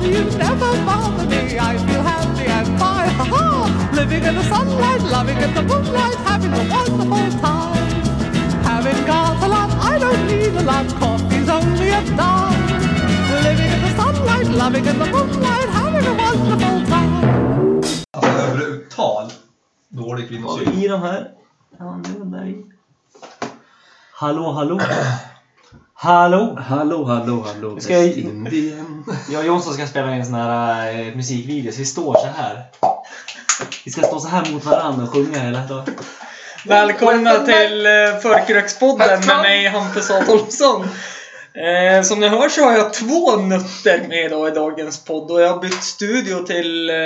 dreams never bother me. I feel happy and fine. Ha ha! Living in the sunlight, loving in the moonlight, having a wonderful time. Having got a lot, I don't need a lot. Coffee's only a dime. Living in the sunlight, loving in the moonlight, having a wonderful time. Alltså övertal. Dålig Och kvinnosyn. i de här. Ja, det var där i. Hallå, hallå. Hallå! Hallå, hallå, hallå, Ska jag- Västindien. Jag och Jonsson ska spela in en sån här eh, musikvideo, så vi står så här. Vi ska stå så här mot varandra och sjunga hela dagen. Välkomna till eh, Förkrökspodden med mig Hampus Adolfsson. Eh, som ni hör så har jag två nötter med idag i dagens podd och jag har bytt studio till eh,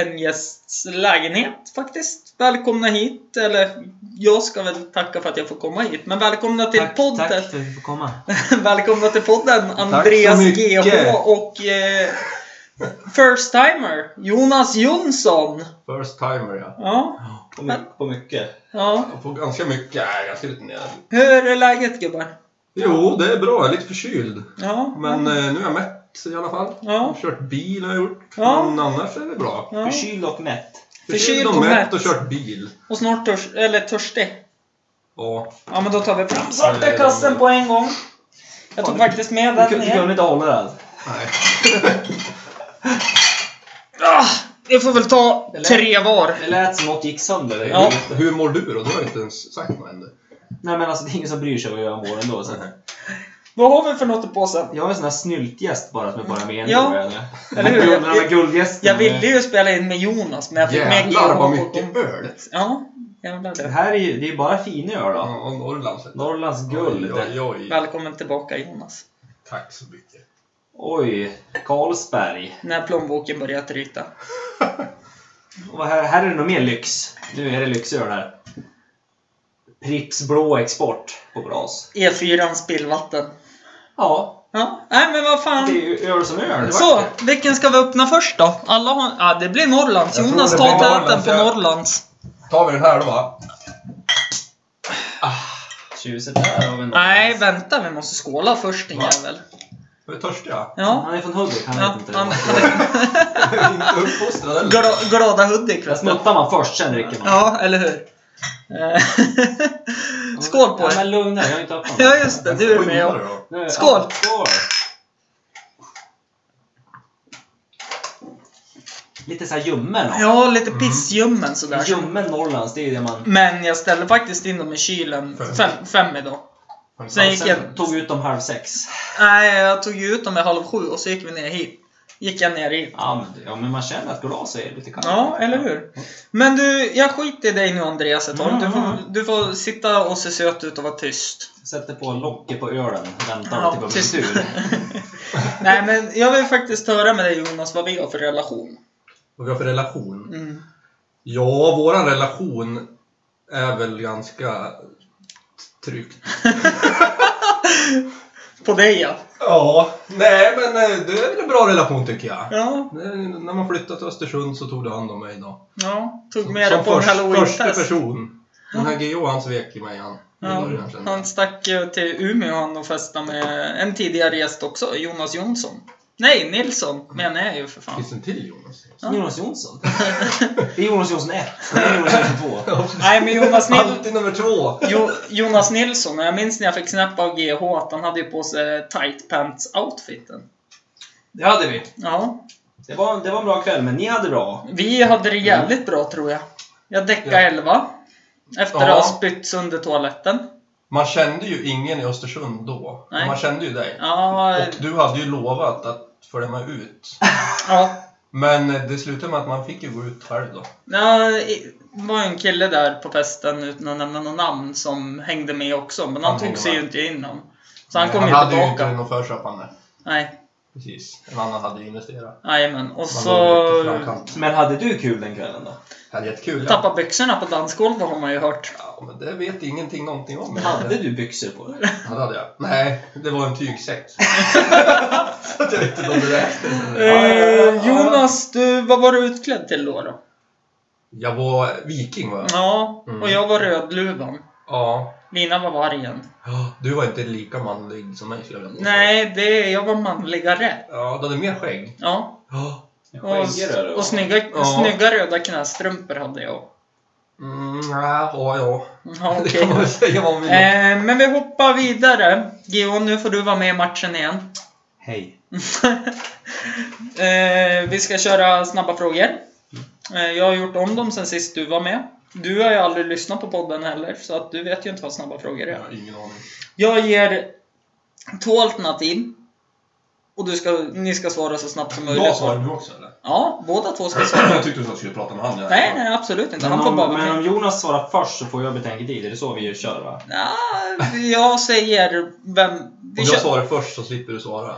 en gästs lägenhet faktiskt. Välkomna hit, eller jag ska väl tacka för att jag får komma hit, men välkomna till Tack, podden. tack för att vi får komma. välkomna till podden så Andreas mycket. GH och eh, First Timer Jonas Jonsson. First timer ja. Ja, På, my- på mycket. ja. Jag får ganska mycket. Nej, ganska lite ner. Hur är läget gubbar? Jo, det är bra. Jag är lite förkyld. Ja, Men eh, nu är jag mätt i alla fall. Ja. Jag har kört bil har jag gjort. Ja. Men annars är det bra. ja. Förkyld och mätt. Förkyld och mätt och kört bil. Och snart törs, eller törstig. Ja. Ja men då tar vi fram Nej, svarta kassen de- på en gång. Jag tog faktiskt med Du, den kun- du kunde ner. inte hålla det alltså. Nej. Ah, jag får väl ta Eller? tre var. Det lät som något gick sönder. Ja. Hur, hur mår du då? Du har inte ens sagt något ännu. Nej men alltså det är ingen som bryr sig vad jag mår ändå. Så. att- Vad har vi för något i påsen? Jag är en sån här snyltgäst bara som är bara med en Ja. gång, eller? Eller hur? Den här guldgästen. Jag ville ju spela in med Jonas men jag fick med Jävlar vad GH på mycket gång. öl! Ja, jävlar Det det. här är ju det är ju bara finöl då. Ja, och Norrland. så- Norrlands guld. Oj, oj, oj. Välkommen tillbaka Jonas. Tack så mycket. Oj, Carlsberg. När plånboken börjar tryta. Och här, här är det nog mer lyx. Nu är det lyxöl här. Pripps blå export på glas. E4 E spillvatten. Ja, Ja, nej men vad det är fan. ju öl som öl. Så, vilken ska vi öppna först då? Alla har... Ja, det blir Norrlands. Jag tror Jonas det tar blir täten Norrlands, på ja. Norrlands. Tar vi den här då va? Tjuset där har vi något. Nej, vänta, vi måste skåla först din Va? jävel. Jag är törstig ja. Ja. Han är från Hudik, han ja vet inte han, det. han är Jag är inte uppfostrad heller. glada, glada Hudik Där vet du. smuttar man först, sen dricker man. Ja, eller hur? Eh, Skål på ja, Men er! lugna jag har inte öppnat Ja, den. just det, du är med. Undrar och- då. Nu- Skål! Ja, skål! Lite såhär ljummen. Ja. Ja, lite Mm. pissljummen sådär. Ljummen Norrlands, det är ju det man... Men jag ställde faktiskt in dem i kylen Fem. fem, fem idag. Har ni Sen gick satt jag- sen? Tog ut dem halv sex. Nej, jag tog ju ut dem i halv sju och så gick vi ner hit. Gick jag ner hit. Ja men, ja, men man känner att glaset är lite kallt. Ja, eller hur? Men du, jag skiter i dig nu Andreas ett tag. Du Mm. får, du får sitta och se söt ut och vara tyst. Sätter på locket på ölen. Väntar Ja, till på tyst. min tur. Nej men jag vill faktiskt höra med dig Jonas vad vi har för relation. Vad vi har för relation? Mm. Ja, våran relation är väl ganska tryggt. På dig ja. Ja, nej men eh, det är väl en bra relation tycker jag. Ja, Eh, När man flyttade till Östersund så tog du hand om mig då. ja. tog Som- med som dig på en först- Första halloween-fest. person. Den här Geo han svek ju mig han. I Ja, början, kände jag. han stack ju till Umeå han och festade med en tidigare gäst också, Jonas Jonsson. Nej, Nilsson menar jag ju för fan. Finns det en till Jonas? Jonas Jonsson. Det är Jonas Jonsson 1. Det är Jonas Jonsson 2. Nej men Jonas, Nil- Alltid nummer två! jo, Jonas Nilsson, jag minns när jag fick snap av GH att han hade ju på sig tight pants outfiten. Det hade vi. Ja, Det var, det var en bra kväll, men ni hade bra. vi hade det jävligt bra tror jag. Jag däckade Ja. 11 efter att Ja. ha spytt sönder toaletten. Man kände ju ingen i Östersund då. Nej. Men Man kände ju dig. Ja, Och du hade ju lovat att följa med ut. ja. Men det slutade med att man fick ju gå ut själv då. Ja, i- det var ju en kille där på festen, utan att nämna något namn, som hängde med också. Men han, Han tog hängde sig ju med. inte in honom. Så han kom Eh, han ju hade ju tillbaka. inte något förköpande. Nej, Precis. En annan hade ju investerat. jajamän. Och Man så låg lite i framkant. Men hade du kul den kvällen då? Det hade jättekul. Ja. tappa byxorna på dansgolvet har man ju hört. ja, men det vet ingenting någonting om. Hade du byxor på dig? Ja, det hade jag. Nej, det var en tygsäck. så att jag vet inte om det räknas. Eh, Jonas, du, vad var du utklädd till då? då? Jag var viking var jag. Ja, Mm. och jag var Rödluvan. Ja. Lina var vargen. Ja, du var inte lika manlig som mig skulle jag vilja påstå. Nej, det, jag var manligare. Ja, du hade mer skägg. Ja. Ja. Och, Skäggigare då? och snygga, Ja. snygga röda knästrumpor hade jag. Mm, ja, ja, ja. Ja, Det okej. kan man väl säga vad man vill. eh, men vi hoppar vidare. Geo, nu får du vara med i matchen igen. Hej. eh, vi ska köra snabba frågor. Eh, jag har gjort om dem sen sist du var med. Du har ju aldrig lyssnat på podden heller, så att du vet ju inte vad snabba frågor Jag är. har ingen aning. Jag ger två alternativ. Och du ska, ni ska svara så snabbt som möjligt. Jag svarade du också eller? Ja, båda två ska svara. Jag tyckte du skulle prata med han. jag- nej, nej, absolut inte. Han Men får om, bara vara men med. om Jonas svarar först så får jag betänketid. Är det så vi kör va? Ja, jag säger vem... Om Vi jag kör- svarar först så slipper du svara.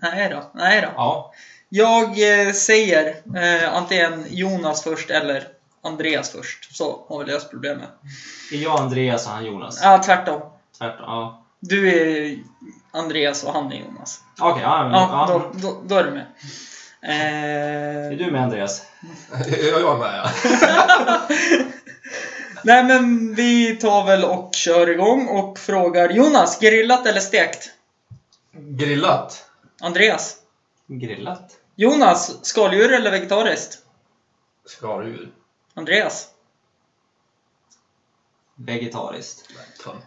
Nej då, nej då. Ja. Jag eh, säger eh, antingen Jonas först eller Andreas först. Så har vi löst problemet. Det är jag Andreas och han Jonas. Ja, tvärtom. Tvärtom. Ja. Du är Andreas och han är Jonas. Okej, ja, men, Ja, Mm, ja. då, då, då är du med. Är Eh, du med Andreas? jag jag är med ja. nej men vi tar väl och kör igång och frågar Jonas, grillat eller stekt? Grillat. Andreas? Grillat? Jonas, skaldjur eller vegetariskt? Skaldjur. Andreas? Vegetariskt? Nej, Tönt.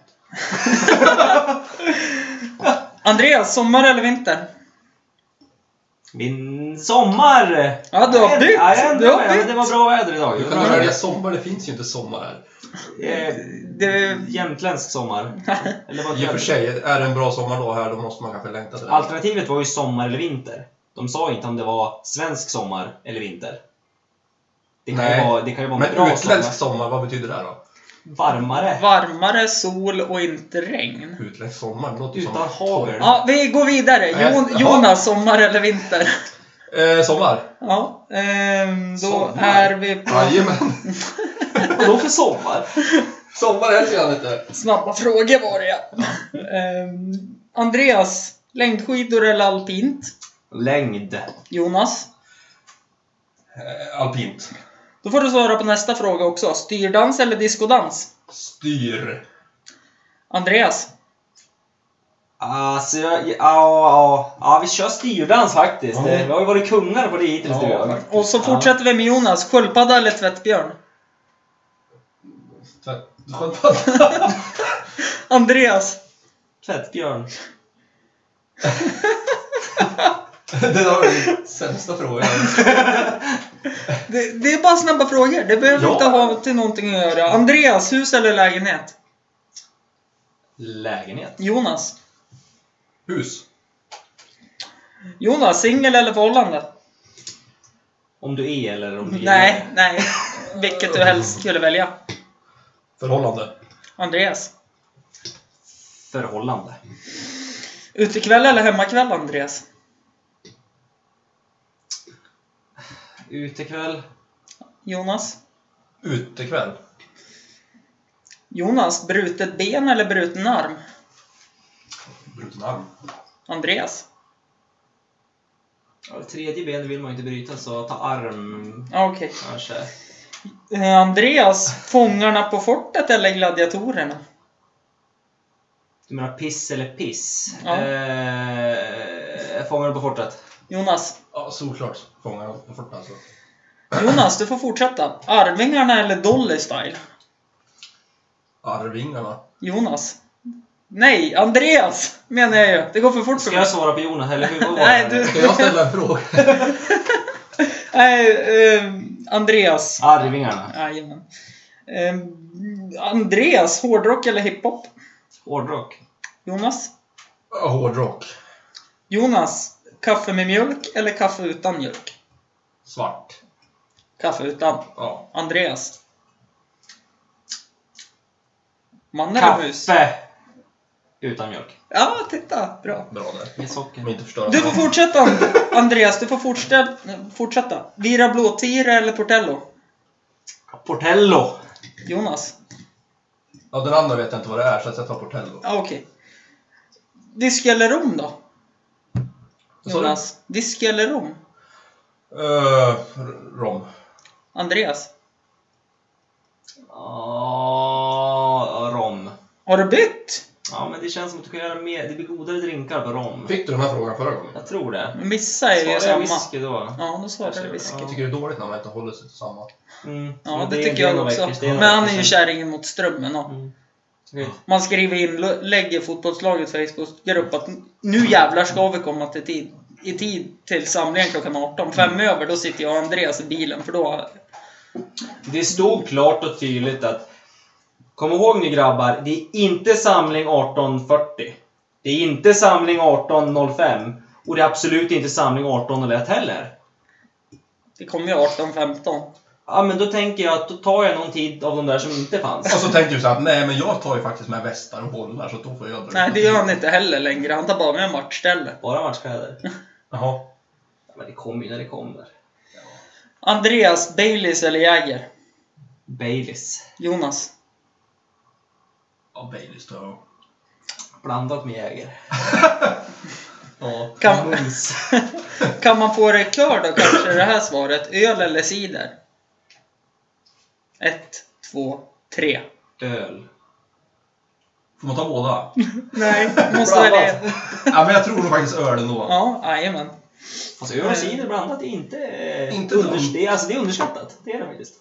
Andreas, sommar eller vinter? Min sommar! Ja, du har bytt! Ja, jag ändrar Du har mig, men bytt! Det var bra väder idag. Du kan välja sommar, det finns ju inte sommar här. Eh, Det, Jämtländsk sommar. Eller vad I och för sig, är det en bra sommardag här då måste man kanske längta till den. Alternativet var ju sommar eller vinter. De sa inte om det var svensk sommar eller vinter. Det kan, ju Nej. vara, det kan ju vara en Men bra utländsk sommar. sommar, vad betyder det här då? Varmare. varmare, sol och inte regn. Utländsk sommar, det låter ju som... Utan hagel. Ja, vi går vidare. Nej, Jon, ja. Jonas, sommar eller vinter? Eh, sommar! Ja, ehm, då Sommar. är vi på Jajamän! Vadå för sommar? Sommar älskar jag inte! snabba frågor var det. Ehm, Andreas, längdskidor eller alpint? Längd. Jonas? Eh, alpint. Då får du svara på nästa fråga också. Styrdans eller diskodans? Styr. Andreas? Alltså, jag, ja, ja, ja, vi kör styrdans faktiskt. Ja. Vi har ju varit kungar på det hittills Ja, du och jag. faktiskt. Och så Ja. fortsätter vi med Jonas. Sköldpadda eller tvättbjörn? Tvätt- Sköldpadda. Andreas? Tvättbjörn. Det var den sämsta frågan. Det, det är bara snabba frågor. Det behöver Ja. inte ha till någonting att göra. Andreas, hus eller lägenhet? Lägenhet. Jonas? Hus. Jonas, singel eller förhållande? Om du är eller om du gillar Nej, det. nej. Vilket du helst skulle välja. Förhållande. Andreas. Förhållande. Utekväll eller hemmakväll, Andreas? Utekväll. Jonas? Utekväll. Jonas, brutet ben eller bruten arm? Bruten arm. Andreas? Ja, det tredje benet vill man ju inte bryta så ta arm Ja, Okej. kanske. Eh, Andreas, Fångarna på fortet eller Gladiatorerna? Du menar piss eller piss? Ja. Eh, fångarna på fortet. Jonas? Ja, solklart. Fångarna på fortet alltså. Jonas, du får fortsätta. Arvingarna eller Dolly Style? Arvingarna. Jonas? Nej, Andreas menar jag ju. Det går för fort för Ska mig. jag svara på Jonas eller hur var det? Nej, du... Ska jag ställa en fråga? Nej, eh, Andreas. Arvingarna. Jajamän. Eh, Andreas, hårdrock eller hiphop? Hårdrock. Jonas? Ja, Hårdrock. Jonas, kaffe med mjölk eller kaffe utan mjölk? Svart. Kaffe utan. Ja. Andreas? Man eller mus? Kaffe. Utan mjölk. Ja, titta! Bra. Bra där. Med Om socker. inte förstöra. Du får fortsätta And- Andreas, du får fortsätta. fortsätta. Vira blåtira eller portello? Portello. Jonas? Ja, den andra vet jag inte vad det är så att jag tar Portello. Ja, okej. Disk eller rom då? Vad sa du? Jonas? Disk eller rom? Eh, rom. Andreas? Ah, rom. Har du bytt? Ja, men det känns som att du kan göra mer. Det blir godare drinkar på rom. Fick du den här frågan förra gången? Jag tror det. Missa är ju Svarar jag samma. whisky då? Ja, då svarar du whisky. Ja. Jag tycker det är dåligt när man inte håller sig till samma. Mm. Ja, Men det är- tycker är nog jag också. veckors- det är nog Men han är ju veckors- kärringen mot strömmen. och Mm. Okej. Man skriver in, lägger fotbollslagets Facebookgrupp att nu jävlar ska vi komma till tid, i tid till samlingen klockan 18. Fem Mm. över, då sitter jag och Andreas i bilen för då... Det stod klart och tydligt att Kom ihåg nu grabbar, det är inte samling 1840. Det är inte samling 1805. Och det är absolut inte samling 1801 heller. Det kommer ju 18.15. Ja, men då tänker jag att då tar jag någon tid av de där som inte fanns. Och Alltså- så tänkte du så här, att nej men jag tar ju faktiskt med västar och bollar så då får jag dra Nej, det gör han inte heller längre. Han tar bara med matchställe. Bara matchkläder. Jaha. Ja, men det kommer ju när det kommer. Andreas, Baileys eller Jäger? Baileys. Jonas? Ja, Baileys tror jag. Blandat med Jäger. ja, Kan- mums. Kan man få det klar då kanske det här svaret? Öl eller cider? Ett, två, tre. Öl. Får man ta båda? Nej, måste välja. ja, men jag tror nog faktiskt öl ändå. Ja, jajamän. Fast öl och cider blandat är inte... eh, Inte dumt. under, det, är, alltså, det är underskattat. Det är det faktiskt.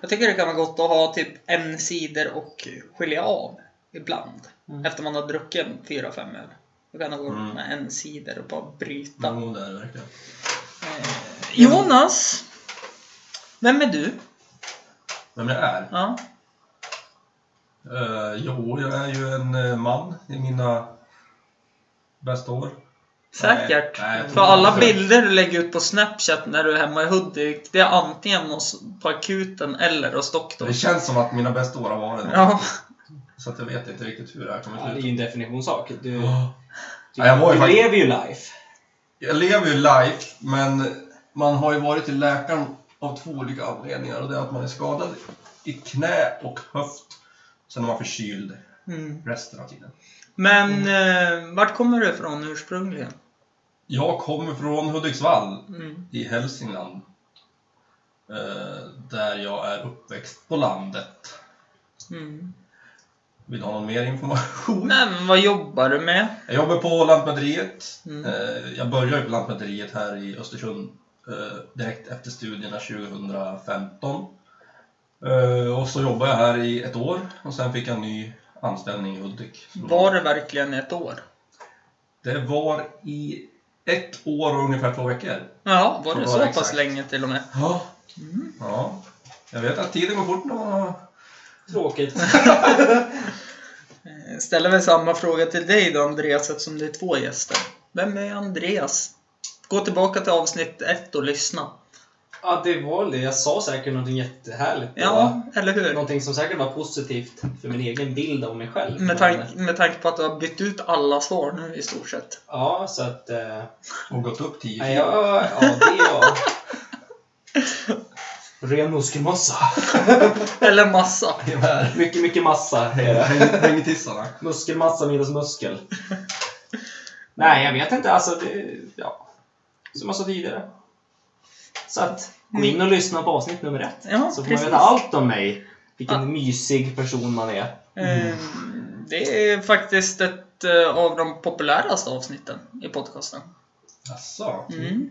Jag tycker det kan vara gott att ha typ en cider och skilja av ibland. Mm. Efter man har druckit en fyra, fem öl. Då kan det gå Mm. med en cider och bara bryta. Jo, det är det verkligen. Eh, Jonas! Vem är du? Vem jag är? Ja. Eh, jo, jag är ju en eh, man i mina bästa år. Säkert. Nej, nej, jag tror För alla inte. bilder du lägger ut på Snapchat när du är hemma i Hudik, det är antingen hos, på akuten eller hos Det doktorn. känns som att mina bästa år har varit det. Ja. Så att jag vet inte riktigt hur det här Ja, kommer det är sluta. ju en definitionssak. Du, du, Ja. Ja, jag var ju du faktiskt- lever ju life. Jag lever ju life, men man har ju varit till läkaren av två olika anledningar. Och det är att man är skadad i knä och höft. Sen är man förkyld Mm. resten av tiden. Men eh, vart kommer du ifrån ursprungligen? Jag kommer från Hudiksvall Mm. i Hälsingland. Eh, Där jag är uppväxt på landet. Mm. Vill du ha någon mer information? Nej, men vad jobbar du med? Jag jobbar på Lantmäteriet. Mm. Eh, Jag började på Lantmäteriet här i Östersund eh, direkt efter studierna 2015. Eh, Och så jobbade jag här i ett år och sen fick jag en ny anställning i Hudik. Så Var det verkligen ett år? Det var i ett år och ungefär två veckor. Ja, var Det det var så pass exakt. länge till och med? Ja. Mm. ja. Jag vet att tiden går fort när man har Tråkigt. Eh, Ställer väl samma fråga till dig då Andreas eftersom det är två gäster. Vem är Andreas? Gå tillbaka till avsnitt ett och lyssna. ja, det var det. Jag sa säkert någonting jättehärligt. Det Ja, var eller hur? Någonting som säkert var positivt för min egen bild av mig själv. Med, tank, med tanke på att du har bytt ut alla svar nu i stort sett. Ja, så att... eh, och gått upp tio Nej, ja, ja, det är jag. Ren muskelmassa. Eller massa. Gevär. Mycket, mycket massa. är det. Häng i tissarna. Muskelmassa minus muskel. Nej, jag vet inte. Alltså, det, ja. Som jag sa tidigare. Så att, gå in och lyssna på avsnitt nummer ett. Mm. Ja, så får precis. man veta allt om mig. Vilken Ja. mysig person man är. Eh, Det är faktiskt ett eh, av de populäraste avsnitten i podcasten. Jaså? Mm.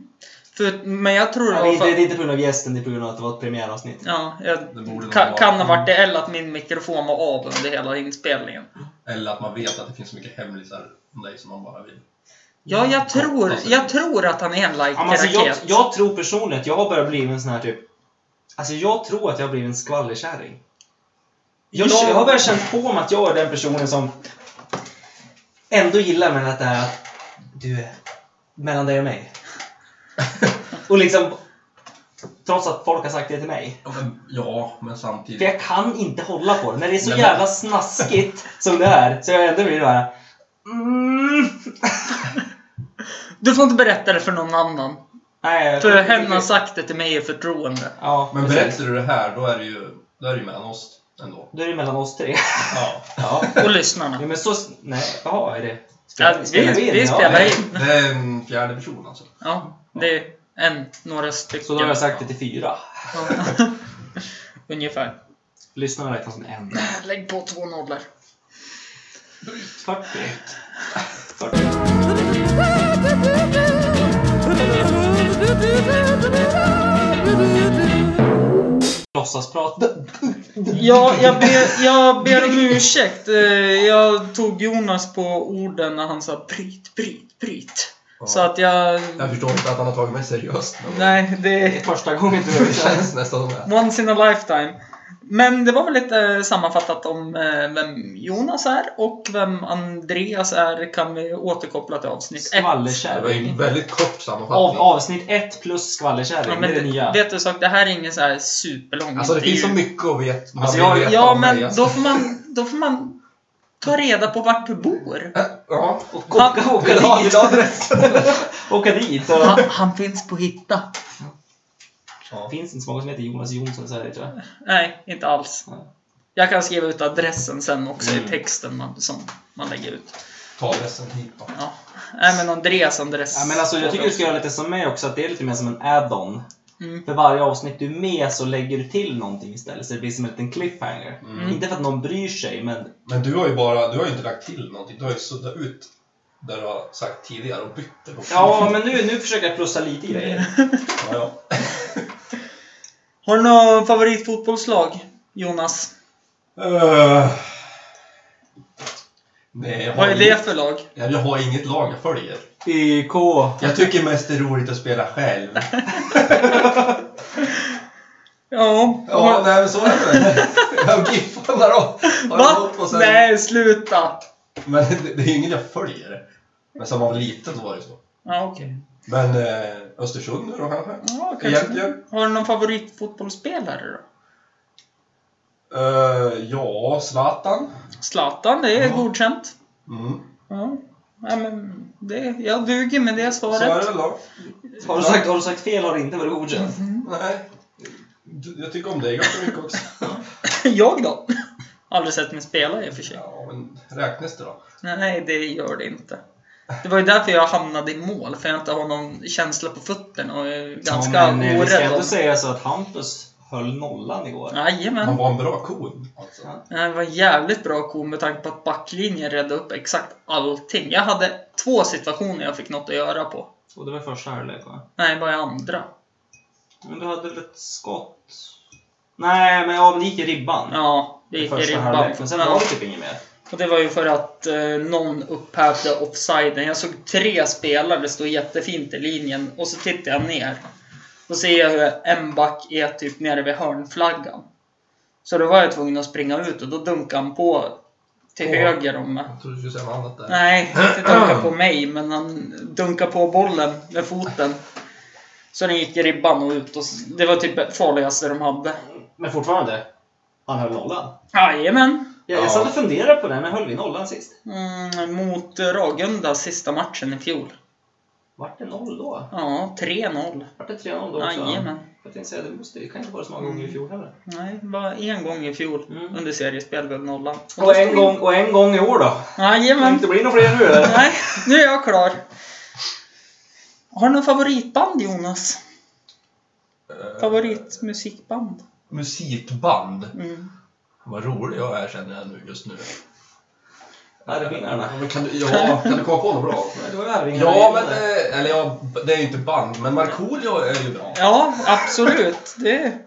För, men jag tror Ja, det det, var är inte- för... det är inte på grund av gästen, det är på grund av att det var ett premiäravsnitt. Ja, jag Det borde nog kan, vara. kan ha Mm. varit det eller att min mikrofon var av under hela inspelningen. Eller att man vet att det finns så mycket hemlisar om dig som man bara vill. Ja, jag tror, Alltså- jag tror att han är en Ja, men alltså, jag, like-raket. jag tror personligen att jag har börjat bli en sån här typ... Alltså jag tror att jag har blivit en skvallerkärring. Jag, Ja. jag har börjat känna på mig att jag är den personen som ändå gillar men att det är att du, mellan dig och mig. och liksom, trots att folk har sagt det till mig. Ja, men, ja, men För samtidigt. jag kan inte hålla på det. När det är så Nej, men- jävla snaskigt som det är så jag ändå blir det här. Mm. Du får inte berätta det för någon annan. Nej, jag tror- För hen har sagt det till mig i förtroende. Ja, Men precis. berättar du det här, då är det ju, då är det ju mellan oss ändå. Då är det mellan oss tre. Ja. Ja. Och lyssnarna. Nej men så... Nej, jaha är det... Ja, vi, vi in? vi Ja, spelar nej. in. Det är en fjärde person alltså. Ja, det är en, några stycken. Så då har jag sagt det till fyra. Ja. Ungefär. Lyssnarna räknas som en. Lägg på två nollor. 40. 40. Låtsasprat. Ja, jag ber, jag ber om ursäkt. Eh, Jag tog Jonas på orden när han sa bryt, bryt, bryt. Ja. Så att jag... Jag förstår inte att han har tagit mig seriöst. Men Nej, det är Första gången du hör det det. känns nästan som det. once in a lifetime. Men det var väl lite sammanfattat om eh, vem Jonas är och vem Andreas är kan vi återkoppla till avsnitt 1. Det var ju Skvallerkärring. en väldigt kort Av, sammanfattning. avsnitt 1 plus skvallerkärring. Ja, det är men det nya. det, vet du sak, det här är ingen så här superlång Alltså det finns så intervju. mycket att vet, man Alltså, vill jag- veta Ja, om men mig, alltså. då får man, då får man ta reda på vart du bor. Äh, Ja, Och åka, åka vill du ha- dit. vill du ha adressen? Åka dit. Och... Han, han finns på Hitta. Det finns inte så många som heter Jonas Jonsson i Sverige tror jag. Nej, inte alls. Nej. Jag kan skriva ut adressen sen också Mm. i texten man, som man lägger ut. Ta adressen hit då. Ja. Nej, men Andreas adress. Ja, men alltså, jag tycker du ska göra lite som mig också, att det är lite mer som en add-on. Mm. För varje avsnitt du är med så lägger du till någonting istället, så det blir som en liten cliffhanger. Mm. Inte för att någon bryr sig, men Men du har ju bara, du har ju inte lagt till någonting. Du har ju suddat ut det du har sagt tidigare och bytt det. på- Ja, men nu, nu försöker jag plussa lite grejer. Ja, ja. Har du något favoritfotbollslag, Jonas? Eh, nej, jag har, Vad är inget, det för lag? jag har inget lag jag följer. YK. Jag tycker mest det är roligt att spela själv. Ja. Ja, nej men så är det. Jag Giffarna då? Har jag Va? gått på sen- Nej, sluta! Men det, det är ju inget jag följer. Men som var liten så var det så. Ja, okej. Men eh, Östersund nu då kanske? Ja, Egentligen. kanske. Har du någon fotbollsspelare då? Eh, ja, Zlatan. Zlatan, det är Ja. godkänt. Mm. Ja. Nej, men det, jag duger med det Så är det svaret. väl då. Har du sagt, har du sagt fel har det inte varit godkänt. Mm-hmm. Nej. Du- Jag tycker om dig ganska mycket också. jag då? Aldrig sett mig spela i och för sig. Ja, men räknas det då? Nej, det gör det inte. Det var ju därför jag hamnade i mål, för jag inte har någon känsla på fötterna och är ganska ja, men, eh, Vi ska orädd. ändå om- säga så att Hampus höll nollan igår. Han Jajamän. var en bra kon. Alltså. Ja. Nej, Det var en jävligt bra ko med tanke på att backlinjen räddade upp exakt allting. Jag hade två situationer jag fick något att göra på. Och det var första halvlek va? Nej, det var i andra. Men du hade väl ett skott? Nej, men ja, det gick i ribban. Ja, det gick i första ribban. halvlek. Men sen Ja. var det typ inget mer. Och det var ju för att eh, någon upphävde offsiden. Jag såg tre spelare stå jättefint i linjen och så tittar jag ner. Då ser jag hur en back är typ nere vid hörnflaggan. Så då var jag tvungen att springa ut och då dunkade han på till Åh. höger om mig. Jag trodde du skulle säga något annat där. Nej, inte dunka på mig, men han dunkade på bollen med foten. Så den gick i ribban och ut. Och s- det var typ det farligaste de hade. Men fortfarande, han höll nollan. Jajamän! Jag, Ja. jag satt och funderade på det, men höll vi nollan sist? Mm, mot eh, Ragunda sista matchen i fjol. Vart det noll då? Ja, 3-0. Vart det 3-0 då också? Jajamän. Jag tänkte säga, det, måste, det kan inte vara så många gånger i fjol heller. Nej, bara en gång i fjol Mm. under seriespel blev nollan. Och en, gång, och en gång i år då? Det Jajamän. inte blir några fler nu eller? Nej, nu är jag klar. Har du någon favoritband Jonas? Eh, Favoritmusikband? Musikband. Mm. Vad rolig jag är kärn jag nu just nu. Arvingarna. Men kan du, ja, kan du komma på något bra? Det var ju Arvingarna. Ja, men eh, eller ja, det är ju inte band, men Markoolio är ju bra. Ja, absolut. Det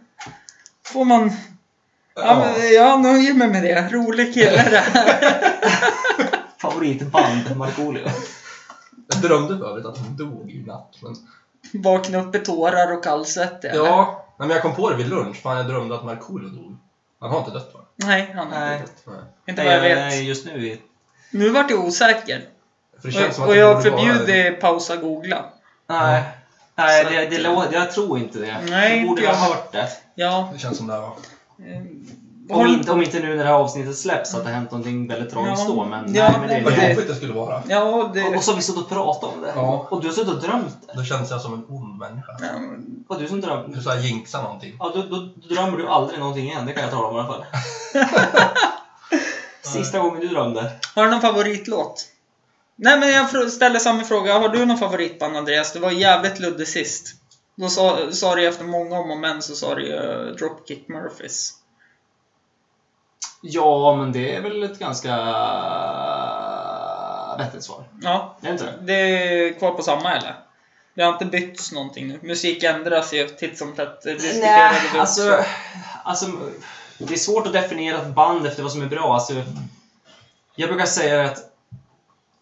får man... Ja, Ja. men jag nöjer mig med det. Rolig kille det här. eh, Favoritband, Markoolio. Jag drömde för övrigt att hon dog i natt. Men... Vakna upp i tårar och kallsvettig. eller? Ja, nej, men jag kom på det vid lunch. Fan, jag drömde att Markoolio dog. Han har inte dött va? Nej, han har Nej. inte. Nej. Inte vad jag vet. Nej, just nu i... Nu vart jag osäker. För det känns som att Och, och det jag borde vara- förbjuder pausa googla. Nej. Nej, Så det, att- det, lå- jag tror inte det. Nej, jag borde inte ha jag. hört det. Ja. Det känns som det. Ja. eh, Om inte, om inte nu när det här avsnittet släpps att det har hänt någonting väldigt tragiskt Ja. då. Men, Ja, nej, men det, nej, Vad men- det, jobbigt det skulle vara. Ja, och, det... och så har vi suttit och pratat om det. Ja. Och du har suttit och drömt det. Då känns jag som en ond människa. Ja, men- Det var du som drömde. Du så här jinxar någonting. Ja, då, då drömmer du aldrig någonting igen. Det kan jag tala om i alla fall. Sista gången du drömde. Har du någon favoritlåt? Nej men jag frå- ställer samma fråga. Har du någon favoritband Andreas? Du var jävligt luddig sist. Då sa, sa du ju efter många om och men så sa du ju eh, Dropkick Murphys. Ja, men det är väl ett ganska rätt ett svar. Ja, Är det inte det? det är kvar på samma eller? Det har inte bytts någonting nu. Musik ändras ju titt som tätt. Det diskuterade Nej, vi alltså, också. alltså... Det är svårt att definiera ett band efter vad som är bra. Alltså, jag brukar säga att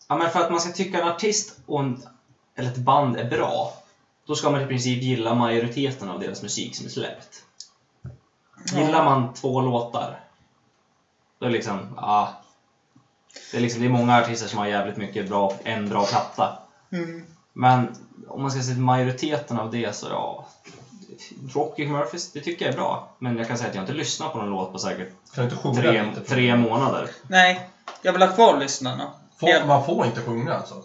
ja, men för att man ska tycka en artist och en, eller ett band är bra, då ska man i princip gilla majoriteten av deras musik som är släppt. Gillar man två låtar, då är det liksom, ja... Det är, liksom, det är många artister som har jävligt mycket bra, en bra platta. Mm. Men om man ska se till majoriteten av det så ja... Rocky Murphys, det tycker jag är bra. Men jag kan säga att jag inte lyssnat på någon låt på säkert Kan du inte sjunga tre, lite? tre månader. Nej, jag vill ha kvar lyssnarna. Får, man får inte sjunga alltså?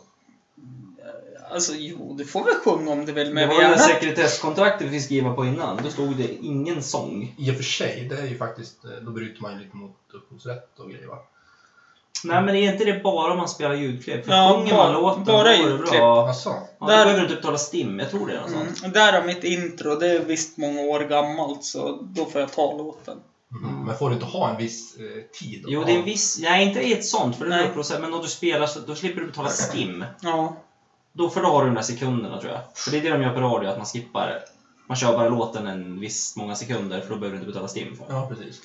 Alltså jo, du får väl sjunga om du Men vill men det vi var gärna... det sekretesskontraktet vi fick skriva på innan. Då stod det ingen sång. I och för sig, det är ju faktiskt, eh, då bryter man ju lite mot upphovsrätt och grejer va? Nej men är inte det bara om man spelar ljudklipp? För Ja, sjunger man bara- låten då är bara det ljudklipp. bra. Alltså, Ja, Där- Då behöver du inte betala STIM. Jag tror det är något Mm. sånt. och Där har mitt intro, det är visst många år gammalt så då får jag ta låten. mm. Men får du inte ha en viss eh, tid? Jo, det är en viss... Nej, inte i ett sånt. För det Nej. är upphovsrätt. Men om du spelar så då slipper du betala STIM. Ja. Då för då har du de där sekunderna tror jag. För det är det de gör på radio, att man skippar. Man kör bara låten en viss många sekunder för då behöver du inte betala STIM för. Ja, precis.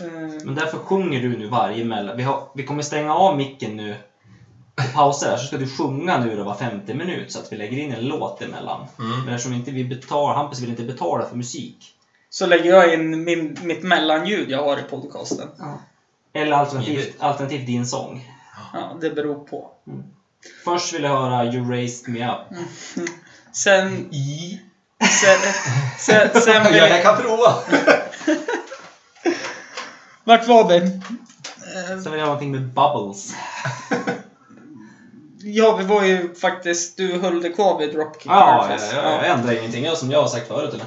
Eh, Men därför sjunger du nu varje mellan... Vi, har... vi kommer stänga av micken nu och pausa där, så ska du sjunga nu då var femte minut så att vi lägger in en låt emellan. Mm. Men eftersom inte vi betalar, Hampus vill inte betala för musik. Så lägger jag in min, mitt mellanljud jag har i podcasten. Eller alternativt, Givet. alternativt din sång. Ja, det beror på. Först vill jag höra You Raised Me Up. Sen, I... sen, sen, sen vill jag... kan prova! Vart var vi? Eh, Sen vill jag ha någonting med Bubbles. Ja, vi var ju faktiskt... Du höll dig kvar vid Dropkick Ah, Ja, jag, Murphys. jag, jag ändrar ingenting. Jag, som jag har sagt förut eller?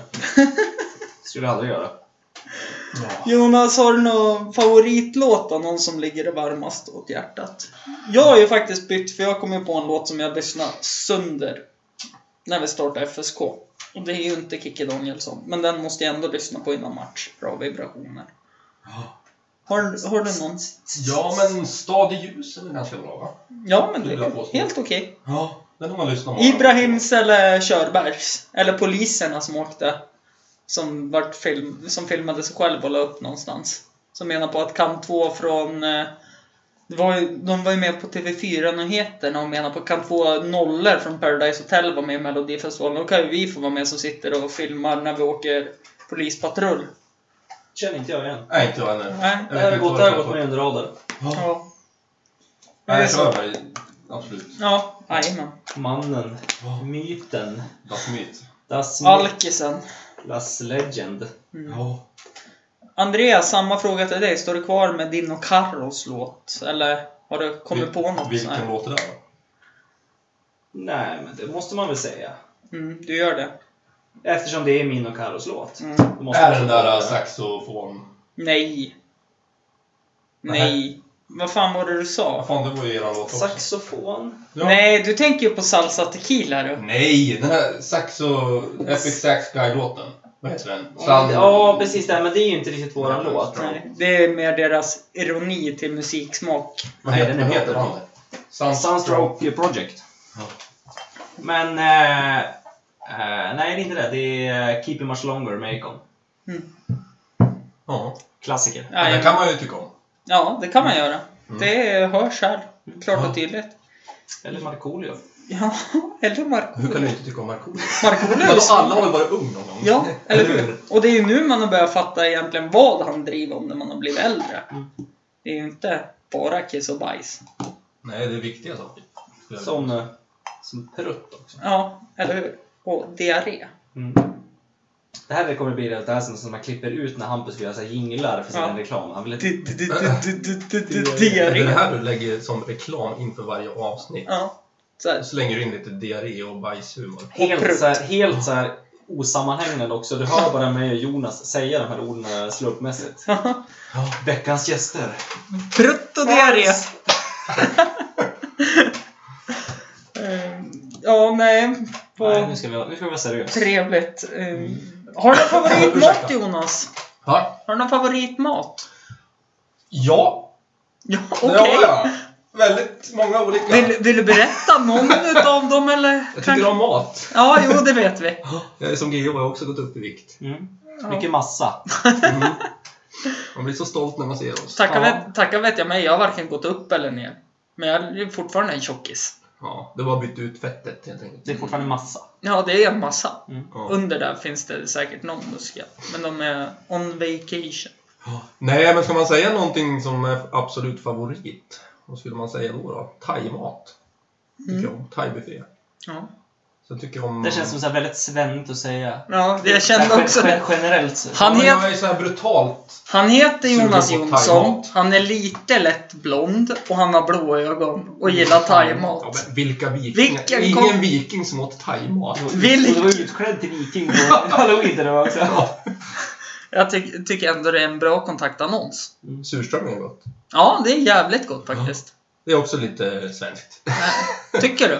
Skulle jag aldrig göra. Jonas, alltså, har du någon favoritlåt då? Någon som ligger det varmast åt hjärtat? Jag har ju faktiskt bytt, för jag kom ju på en låt som jag lyssnade sönder när vi startade FSK. Och det är ju inte Kikki Danielsson, men den måste jag ändå lyssna på innan match. Bra vibrationer. Har, har du någon? Ja, men Stad i ljus är väl ganska bra va? Ja, men det Skulle jag är påstå. helt okej. Ja, den har man lyssnat på. Ibrahims eller Körbergs? Eller poliserna som åkte, som, vart film, som filmade sig själv och la upp någonstans. Som menar på att kan två från... eh, Det var ju, de var ju med på TV4-nyheterna och menar på kan två nollor från Paradise Hotel vara med i Melodifestivalen. Då kan ju vi få vara med som sitter och filmar när vi åker polispatrull. Känner inte jag igen. Nej, inte jag heller. Nej, Jag vet Det här har inte gått, vad det här det har gått var. med under radarn. Ja. Nej, Körberg. Absolut. Ja, jajamän. Mannen, myten, Das Myth. Das Myth, Alkisen. Das Legend. Ja. Andreas, samma fråga till dig. Står du kvar med din och Carros låt? Eller har du kommit på något? sånt Vilken här? låt är det då? Nej, men det måste man väl säga. Mm, du gör det. Eftersom det är min och Carros låt. Mm. Då måste Är man det den säga där eh, det. äh, saxofon... Nej. Nej. Nej. Vad fan var det du Ja, sa? fan, det var ju eran låt också. Saxofon. Ja. Nej, du tänker ju på Salsa Tequila du. Nej, den här saxo... Epic Sax Guy-låten. Vad heter den? Ja, precis. Det, här, men det är ju inte riktigt våran Nej, låt. Strong. Nej, det är mer deras ironi till musiksmak. Vad Nej, heter, den är vad heter bättre. han? Sun- Sunstroke Project. Ja. Men... eh, eh, nej, det är inte det. Det är eh, Keep It Much Longer med Akon. Ja, Klassiker. Ja, den kan man ju tycka om. ja, det kan man göra. Mm. Det hörs här. Klart och tydligt. Eller Markoolio. Ja, eller Marko- Hur kan du inte tycka om Markoolio? Markoolio. Vadå, alla har väl varit ung någon gång? Ja, eller hur? Och det är ju nu man har börjat fatta egentligen vad han driver om när man har blivit äldre. Mm. Det är ju inte bara kiss och bajs. Nej, det är viktiga saker. Skulle jag- Som, eh, som prutt också. Ja, eller hur? Och diarré. Mm. Det här kommer bli det här som, som man klipper ut när Hampus vill göra så här jinglar för sin Ja. reklam. Han vill inte... Di- di- di- di- di- di- di- Är det Diarré. här du lägger som reklam inför varje avsnitt? Ja. Så här. Och slänger du in lite diarré och bajshumor. Helt prutt. så här, helt så här osammanhängande också. Du hör bara mig och Jonas säga de här orden eh, slumpmässigt. Veckans gäster. Prutt och diarré. Ehm, ja, nej. Nej, På nu ska Mm. vi, vara- nu ska vi vara seriösa. trevligt. Ehm, Har du någon favoritmat Jonas? Ha? Har du någon favoritmat? Ja! Ja, det okej. har jag. Väldigt många olika. Vill, vill du berätta någon av dem eller? Jag tycker om mat. Ja, jo det vet vi. Jag är som Geo har jag också gått upp i vikt. Mm. Mycket massa. Mm. Man blir så stolt när man ser oss. Tacka, Ja. vet, tacka vet jag mig, jag har varken gått upp eller ner. Men jag är fortfarande en tjockis. Ja, det var bytt ut fettet helt enkelt. Det är fortfarande massa. Ja, det är en massa. Mm. Ja. Under där finns det säkert någon muskel. Men de är on vacation. Nej, men ska man säga någonting som är absolut favorit? Vad skulle man säga då? då? Thaimat. Tycker jag om. Thaibuffé. Ja, Sen tycker jag om... Det känns som så här väldigt svennigt att säga. ja det- jag kände Gen- också gen- det. Generellt så. ja, Han, men het, jag är så här brutalt. han heter Jonas Sugen på Jonsson, thaimat. han är lite lätt blond och han har blå ögon och gillar Mm. Ja, thaimat. men vilka vikingar? Vilken Ingen kom- viking som åt thaimat. Och Vill- Du var utklädd till viking på halloween där det var också. Jag ty- tycker ändå det är en bra kontaktannons. Surströmming är gott. Ja, det är jävligt gott faktiskt. Äh, Det är också lite svenskt. Tycker du?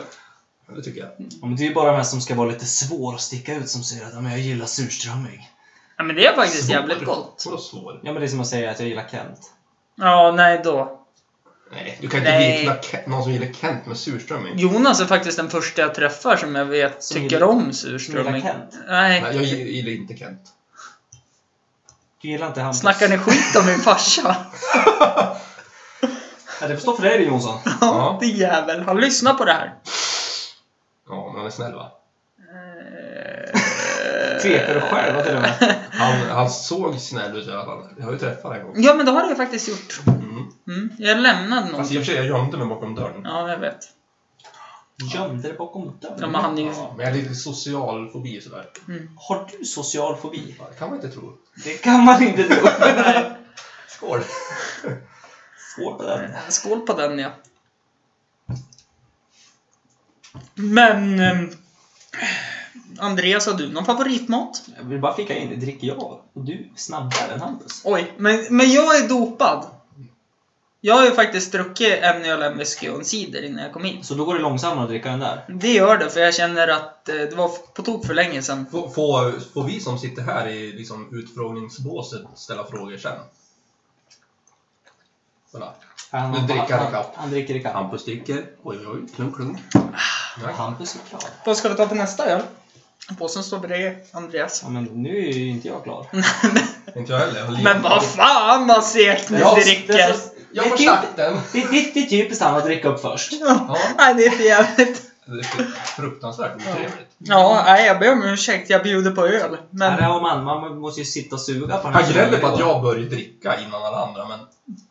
Ja, Det tycker jag. Ja, men det är ju bara de här som ska vara lite svår och sticka ut som säger att "Ja, men jag gillar surströmming. Ja, men det är faktiskt jävligt Svår. gott. Vadå svår? Ja men det är som att säga att jag gillar Kent. Ja, nej då. Nej, du kan inte Nej. likna Ke- någon som gillar Kent med surströmming. Jonas är faktiskt den första jag träffar som jag vet Som tycker gillar- om Som gillar surströmming. Kent. Nej, Nej, jag gillar inte Kent. Du gillar inte Hampus. snackar ni skit om min farsa? Ja, det får stå för dig Jonsson. Ja, det är jävel. Han lyssnar på det här. Ja, men han är snäll va? Tvekar du Eh, själv till och med. Han, han såg snäll ut i alla fall. Jag har ju träffat honom en gång. Ja, men det har jag faktiskt gjort. Mm. Mm. Jag lämnade någon. Fast i och för sig, jag gömde mig bakom dörren. Ja, jag vet. Gömde dig bakom Ja, dörren. men han är ju... Mm. Ja, men jag har lite social fobi sådär. Har du social fobi? Ja, det kan man inte tro. Det kan man inte tro. Skål! Skål på den. Skål på den, ja. Men... ehm, Andreas, har du någon favoritmat? Jag vill bara flika in, det dricker jag. Och du är snabbare än Hampus. Oj, men, men jag är dopad. Jag har ju faktiskt druckit en öl, en whisky och en cider innan jag kom hit. Så då går det långsammare att dricka den där. Det gör det, för jag känner att eh, det var på tok för länge sedan. Får, får, får vi som sitter här i liksom, utfrågningsbåset ställa frågor sen? Kolla. Han, Nu dricker han han, ikapp. han dricker ikapp. Hampus dricker. Oj, oj, oj. Klunk, klunk. Hampus är klar. Vad ska vi ta för nästa öl? Påsen står bredvid Andreas. Ja, men nu är ju inte jag klar. Inte jag heller. Jag har Men vad fan vad segt ni Ja, det dricker! är så- Jag har Det är typ- sagt den! Det, det, det är typiskt han att dricka upp först. Ja. Ja, Nej, det är för jävligt. det är fruktansvärt otrevligt. Ja, nej, jag ber om ursäkt. Jag bjuder på öl. Men... Men Här har man, man måste ju sitta och suga på den Han gnäller på att jag började dricka innan alla andra, men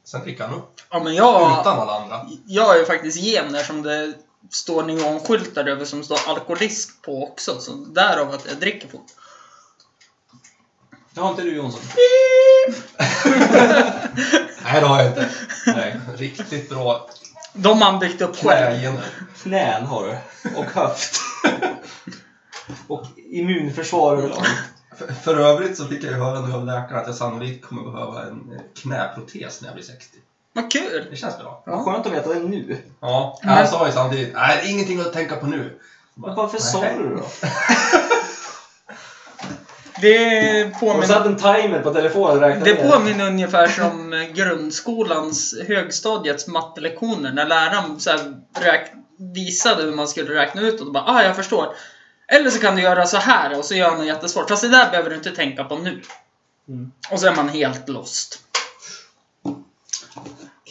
sen dricker han upp ja, men jag, utan alla andra. jag är ju faktiskt gener som det står neonskyltar över som står alkoholism på också. Så därav att jag dricker fort. Det har inte du Jonsson. Nej, det har jag inte. Nej. Riktigt bra De har man byggt upp själv. knägener. Knän har du. Och höft. och immunförsvar överlag. För, för övrigt så fick jag ju höra nu av läkaren att jag sannolikt kommer behöva en eh, knäprotes när jag blir 60. Vad kul! Det känns bra. Vad Skönt att veta det nu. Ja, Men- han sa ju samtidigt nej, ingenting att tänka på nu. Men varför sa Nej. du det då? Det Och påminner, satt en timer på telefonen och räknade det ner. påminner ungefär som eh, grundskolans högstadiets mattelektioner när läraren så här räk- visade hur man skulle räkna ut och då bara ah, jag förstår. Eller så kan du göra så här och så gör han något jättesvårt. Fast det där behöver du inte tänka på nu. Mm. Och så är man helt lost.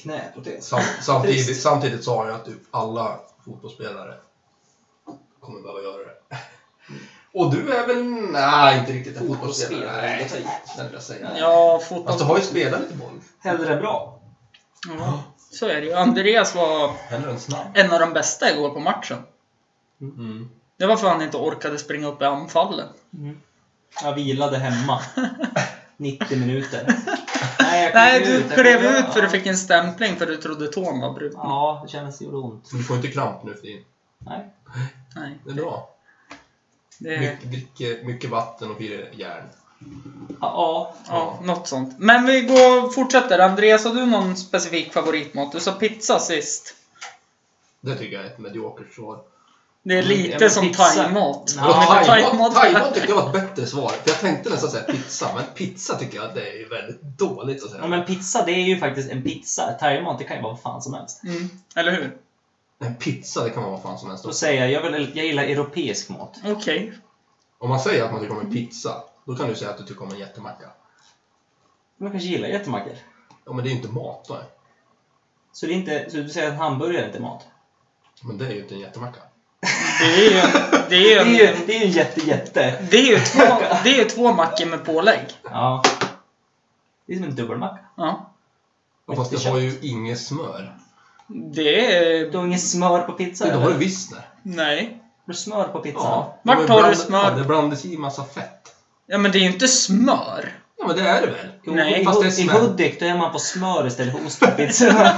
Knäprotes. Sam, samtidigt, Trist. samtidigt sa han ju att typ alla fotbollsspelare kommer behöva göra det. Och du är väl, nej, inte riktigt en fotbollsspelare. Mm. Fotbollsspelare, det tar i. Nej, snälla säga. Ja, fotboll. Fast du har ju spelat lite boll. Hellre bra. Ja, så är det ju. Andreas var Hellre än snabb. en av de bästa igår på matchen. Mm. Det var för han inte orkade springa upp i anfallen. Jag vilade hemma. 90 minuter. Nej, jag klev Nej, du ut. Jag klev kunde- ut för du fick en stämpling för du trodde tån var bruten. Ja, det kändes det gjorde ont. Du får inte kramp nu för tiden. Nej. Nej, Det är bra. det är... Mycket, dricker mycket vatten och fyra järn. Ja, Ja, något sånt. Men vi går fortsätter. Andreas, har du någon specifik favoritmat? Du sa pizza sist. Det tycker jag är ett mediokert svar. Det är men- lite ja, men som pizza. thaimat. Ja, Men Thaimat thaimat- thaimat tycker jag var ett bättre svar. För jag tänkte nästan säga pizza, men pizza tycker jag det är ju väldigt dåligt att säga. Ja, men pizza, det är ju faktiskt en pizza. Thaimat, det kan ju vara vad fan som helst. Mm, eller hur? Men pizza, det kan man vara fan som helst. Då säger jag, jag, vill, jag gillar europeisk mat. Okej. Om man säger att man tycker om en pizza, då kan du säga att du tycker om en jättemacka. Man kanske gillar jättemackor. Ja, men det är ju inte mat då. Så, det är inte, så du säger att hamburgare är inte är mat? Men det är ju inte en jättemacka. Det är ju, det Det är är ju, en, ju, det är ju en jätte-jätte. det är ju två, det är ju två mackor med pålägg. Ja. Det är som en dubbelmacka. Ja. Ja, fast det har ju inget smör. Det är... Du har inget smör på pizza? Det har eller? du visst det. Nej. Har du smör på pizzan? Ja. Vart Men tar du bland- Ja, smör? det blandas i massa fett. Ja men det är ju inte smör. Ja, men det är det väl? Jo, Nej, i, fast det är I smör. Hudik då är man på smör istället för ost på pizzorna.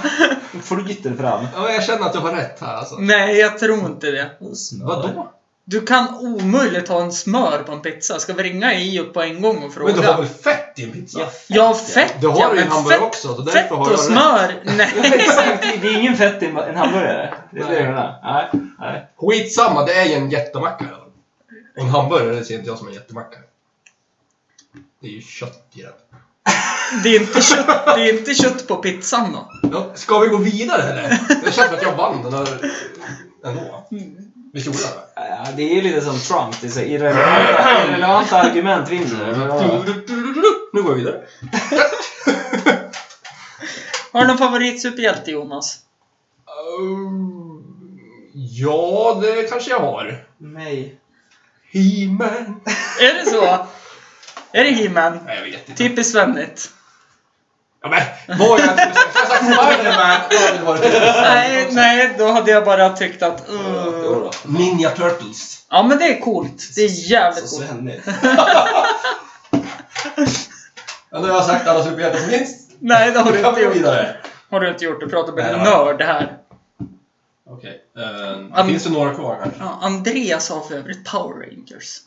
Då flyter fram. Ja, men jag känner att du har rätt här alltså. Nej, jag tror inte det. Och Smör. Vadå? Du kan omöjligt ha en smör på en pizza. Ska vi ringa IO på en gång och fråga? Men du har väl fett i en pizza? Ja, Ja, fett Det har ja, du ju i men hamburgare fett- också, så därför Fett har och jag rätt. smör? Nej. Exakt, det är ingen fett i en hamburgare. Det är det jag menar. Nej, nej. Skitsamma, det är ju en jättemacka i alla fall. Och en hamburgare det ser inte jag som en jättemacka. Det är ju kött i den. Det är inte kött, det är inte kött på pizzan då. Ja, ska vi gå vidare eller? Jag känner att jag vann den här ändå. Visst gjorde jag det? Ja, det är ju lite som Trump, det är så irrelevanta, irrelevanta argument vinner. Nu går vi vidare. Har du någon favoritsuperhjälte Jonas? Ehm, Ja, det kanske jag har. Nej. He-Man. Är det så? Är det He-Man? Nej, jag vet inte. Typiskt svennigt. Ja, men vad jag skulle säga. Jag sagt Spiderman. då hade det varit det. Nej, nej, då hade jag bara tyckt att... Uh. Ninja Turtles. Ja men det är coolt. Det är jävligt Så coolt. svennigt. Ja, nu har jag sagt alla superhjältar som finns. Nej det har Nu du kan inte vi gå gjort. vidare. Har du inte gjort. Du pratar med en Nej, ja. nörd här. Okej. eh, Am- finns det några kvar kanske? Ja, Andreas har för övrigt Power Rangers.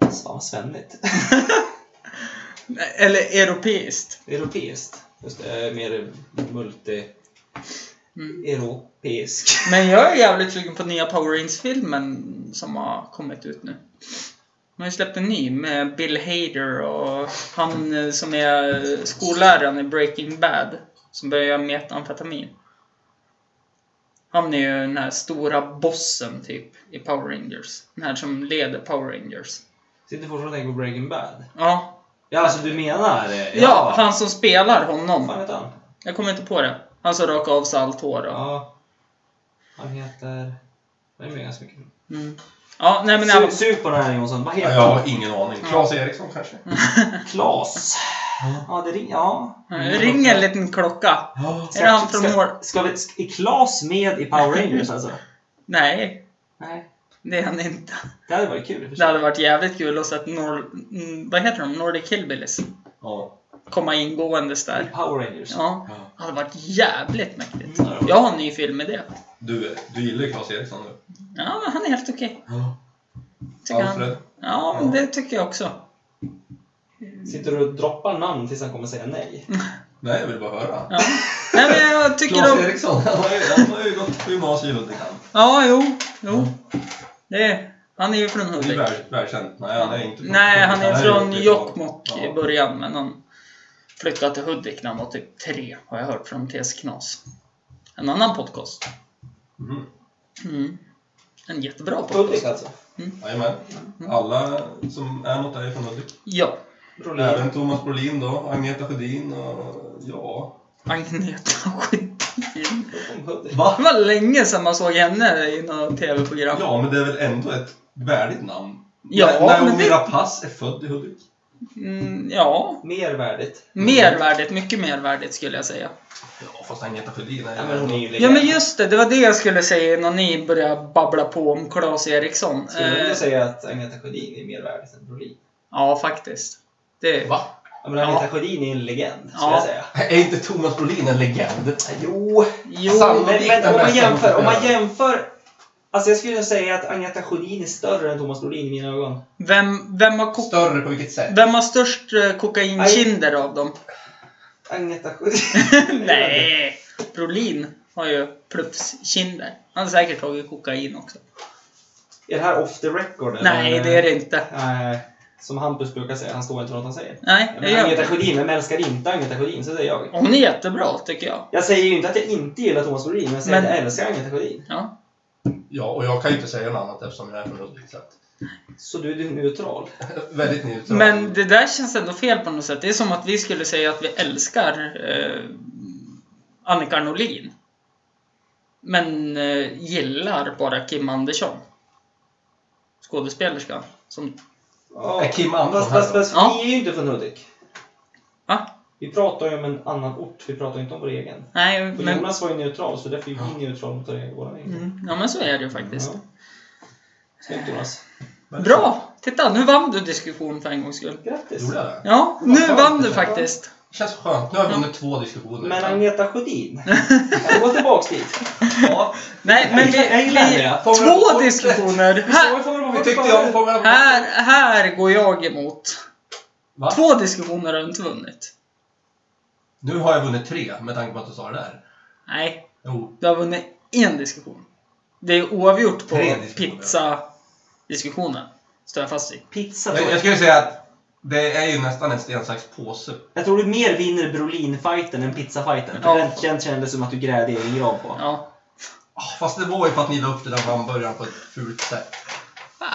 Fan vad svennigt. Eller europeiskt. Europeiskt. Just det, jag är mer multi... Mm. Europeisk. Men jag är jävligt sugen på nya Power Rangers-filmen som har kommit ut nu. De har ju släppt en ny med Bill Hader och han eh, som är skolläraren i Breaking Bad. Som börjar göra metamfetamin. Han är ju den här stora bossen typ i Power Rangers. Den här som leder Power Rangers. Sitter fortfarande och tänker på Breaking Bad. Ja, Ja, alltså du menar... eh, ja han som spelar Vad honom. heter han? Jag kommer inte på det. Han som rakar av sig allt hår och... Ja. Han heter... Det är med ganska mycket. Mm. Ja, nej men i alla Sug, sug på den här Jonsson. Vad Ja, heter Jag han? har ingen aning. Claes Eriksson kanske? Klas. Ja, det ringer... Ja. Mm, Ring en liten klocka. Ja. Är det han från ska, Mor- ska vi... Ska, är Klas med i Power Rangers alltså? Nej, Nej. det är han inte. Det hade varit kul i och för Det sig. hade varit jävligt kul att sett Nor- mm, vad heter de? Nordic Hillbillies Ja. komma ingåendes I där. Power Rangers. Ja, Ja. det hade varit jävligt mäktigt. Mm, det hade Jag har en ny film med det. Du, du gillar ju Claes Eriksson nu. Ja, men han är helt okej. Ja. Tycker han. Alfred. Ja, men det tycker jag också. Sitter du och droppar namn tills han kommer säga nej? Mm. Nej, jag vill bara höra. Ja. Nej, men jag tycker Claes om... Eriksson, han har ju, han har ju gått på gymnasiet i Hudik. han. Ja, jo, jo. Det... Han är ju från Det är Hudik. väl- välkänt. Nej, han är inte från Nej, han Hudik. är från ju typ- Jokkmokk Ja. i början, men han flyttade till Hudik när han var typ tre, har jag hört från TS Knas. En annan podcast. Mhm. Mm. En jättebra podcast. Hudik alltså. Jajamän. Mm. Alla som är något är ju från Hudik. Ja, Även Thomas Brolin då, Agneta Sjödin och ja... Agneta Sjödin. Hudik. Va? Det var länge sedan man såg henne i något tv-program. Ja, men det är väl ändå ett värdigt namn? Ja, När men Naomi det- Rapace är född i Hudik. Mm, ja. Mer värdigt. mervärdigt, mycket mervärdigt skulle jag säga. Ja, fast Agneta Sjödin Ja, är men hon är ju Ja men just det, det var det jag skulle säga innan ni började babbla på om Claes Eriksson. Skulle du vilja Eh, säga att Agneta Sjödin är mer värdig än Brolin? ja, faktiskt. Det, Va? Ja, men Agneta Sjödin är en legend, skulle Ja. jag säga. Är inte Thomas Brolin en legend? Jo, jo, Samma. Alltså, men, men den om man bästa jämför. Om man motståndaren. jämför alltså jag skulle säga att Agneta Sjödin är större än Thomas Brolin i mina ögon. vem, vem har kokat Större på vilket sätt? Vem har störst eh, kokainkinder av dem? Agneta Sjödin. Nej! Brolin. har ju plufskinder. Han har säkert tagit kokain också. Är det här off the record? Nej, det är det inte. Nej. Som Hampus brukar säga, han står inte för något han säger. Nej, det Men gör jag Agneta inte. Sjödin, vem älskar inte Agneta Sjödin? Så säger jag. Hon är jättebra, tycker jag. Jag säger ju inte att jag inte gillar Thomas Brolin, men jag säger Men- att jag älskar Agneta Sjödin. Ja. Ja, och jag kan ju inte säga något annat eftersom jag är från Hudik. så att- Så du är neutral. Väldigt neutral. Men det där känns ändå fel på något sätt. Det är som att vi skulle säga att vi älskar eh, Annika Norlin. Men eh, gillar bara Kim Andersson. Skådespelerskan. Som... Ja. Är Kim Andersson Fast, fast, här då? fast Ja. vi är ju inte från Hudik. Va? Vi pratar ju om en annan ort, vi pratar ju inte om vår egen. Nej, Och men... Jonas var ju neutral, så därför är vi neutral mot vår egen. vår egen. Mm, ja, men så är det ju faktiskt. Ja. Snyggt Jonas. Bra! Titta, nu vann du diskussion för en gångs skull. Grattis. Gjorde jag det? Ja, nu skönt. vann du faktiskt. Det känns skönt. Nu har vi vunnit två diskussioner. Men Agneta Sjödin. Jag går tillbaks dit. Ja, Nej, men vi... Jag gillar vi det. två diskussioner! Här, det tyckte jag. Får man... här, här går jag emot. Va? Två diskussioner har du inte vunnit. Nu har jag vunnit tre med tanke på att du sa det där. Nej, Jo, du har vunnit en diskussion. Det är oavgjort på Tre diskussioner. pizza-diskussionen. Står jag fast vid. Pizza jag, tror jag jag. skulle säga att det är ju nästan en sten, sax, påse. Jag tror du mer vinner Brolin-fighten än pizza-fighten. För Ja. den känns- kändes som att du grävde egen grav på. Ja. Ah, Fast det var ju för att ni la upp den där hamburgaren på ett fult sätt.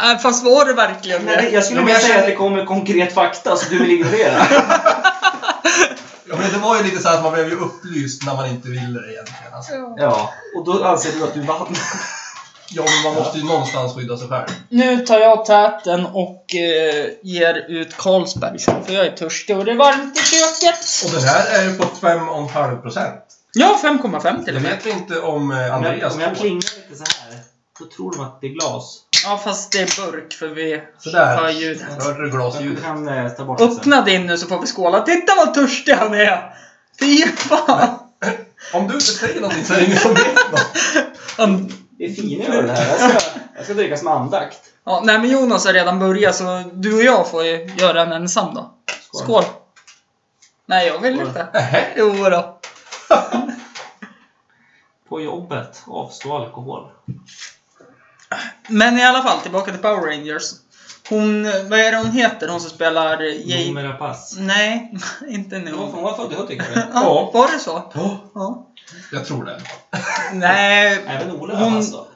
Äh, Fast var det verkligen Men det? jag skulle Ja, men mer jag säga känner- att det kommer konkret fakta som du vill ignorera. Ja, men det var ju lite så här att man blev ju upplyst när man inte ville det egentligen. Alltså. ja, och då anser du att du vann. Ja, men man måste ju någonstans skydda sig själv. Nu tar jag täten och eh, ger ut Carlsberg för jag är törstig och det är varmt i köket. Och den här är ju på 5,5 procent. Ja, 5,5 till Det och med. vet vi inte om eh, Om jag, Andreas om jag får. plingar lite så här, då tror de att det är glas. Ja, fast det är burk för vi hör Sådär. ljudet. Hörde du Du glasljudet? kan eh, ta bort det sen. Öppna din nu så får vi skåla. Titta vad törstig han är! Fy fan! Om du inte säger någonting så är det ingen som vet något. Han- Det är finare det här. Jag ska, jag ska dricka som andakt. Ja, nej men Jonas har redan börjat så du och jag får ju göra en ensam då. Skål! Nej, jag vill Skål. inte. Nähä. Jo då. På jobbet, avstå alkohol. Men i alla fall, tillbaka till Power Rangers. Hon, vad är det hon heter? Hon som spelar Jane? Numera pass. Nej, inte nu. Hon hon var född i Hudik var det? Ja, var det så? Ja, Ja. jag tror det. Nej, Även Ola Hon- var pass då?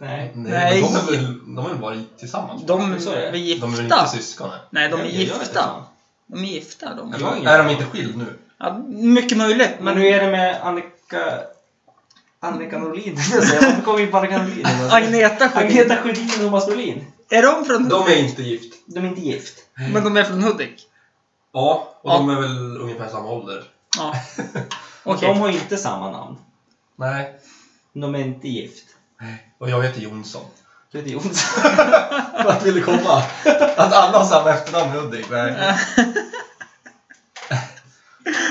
Nej. Nej. men De är väl, de är väl bara tillsammans? de Så är det. De är är väl gifta. inte syskon? nej? Nej, de är Jag- jag vet inte gifta. fan. De är gifta de. Jag har ingen Är de aning. inte skild nu? Ja, mycket möjligt. Men Men hur är det med Annika... Annika Norlin, jag säga. Varför kom vi in på Annika Norlin? Agneta Sjödin. Agneta Sjödin och Thomas Norlin. Är de från De är Hudik? inte gift. De är inte gift. Men de är från Hudik? Ja, och Ja. de är väl ungefär samma ålder. Ja. Och Okej. De har inte samma namn. Nej. Men De är inte gift. Och jag heter Jonsson. Du heter Jonsson. Vart vill du komma? Att alla har samma efternamn Hudik? Nej.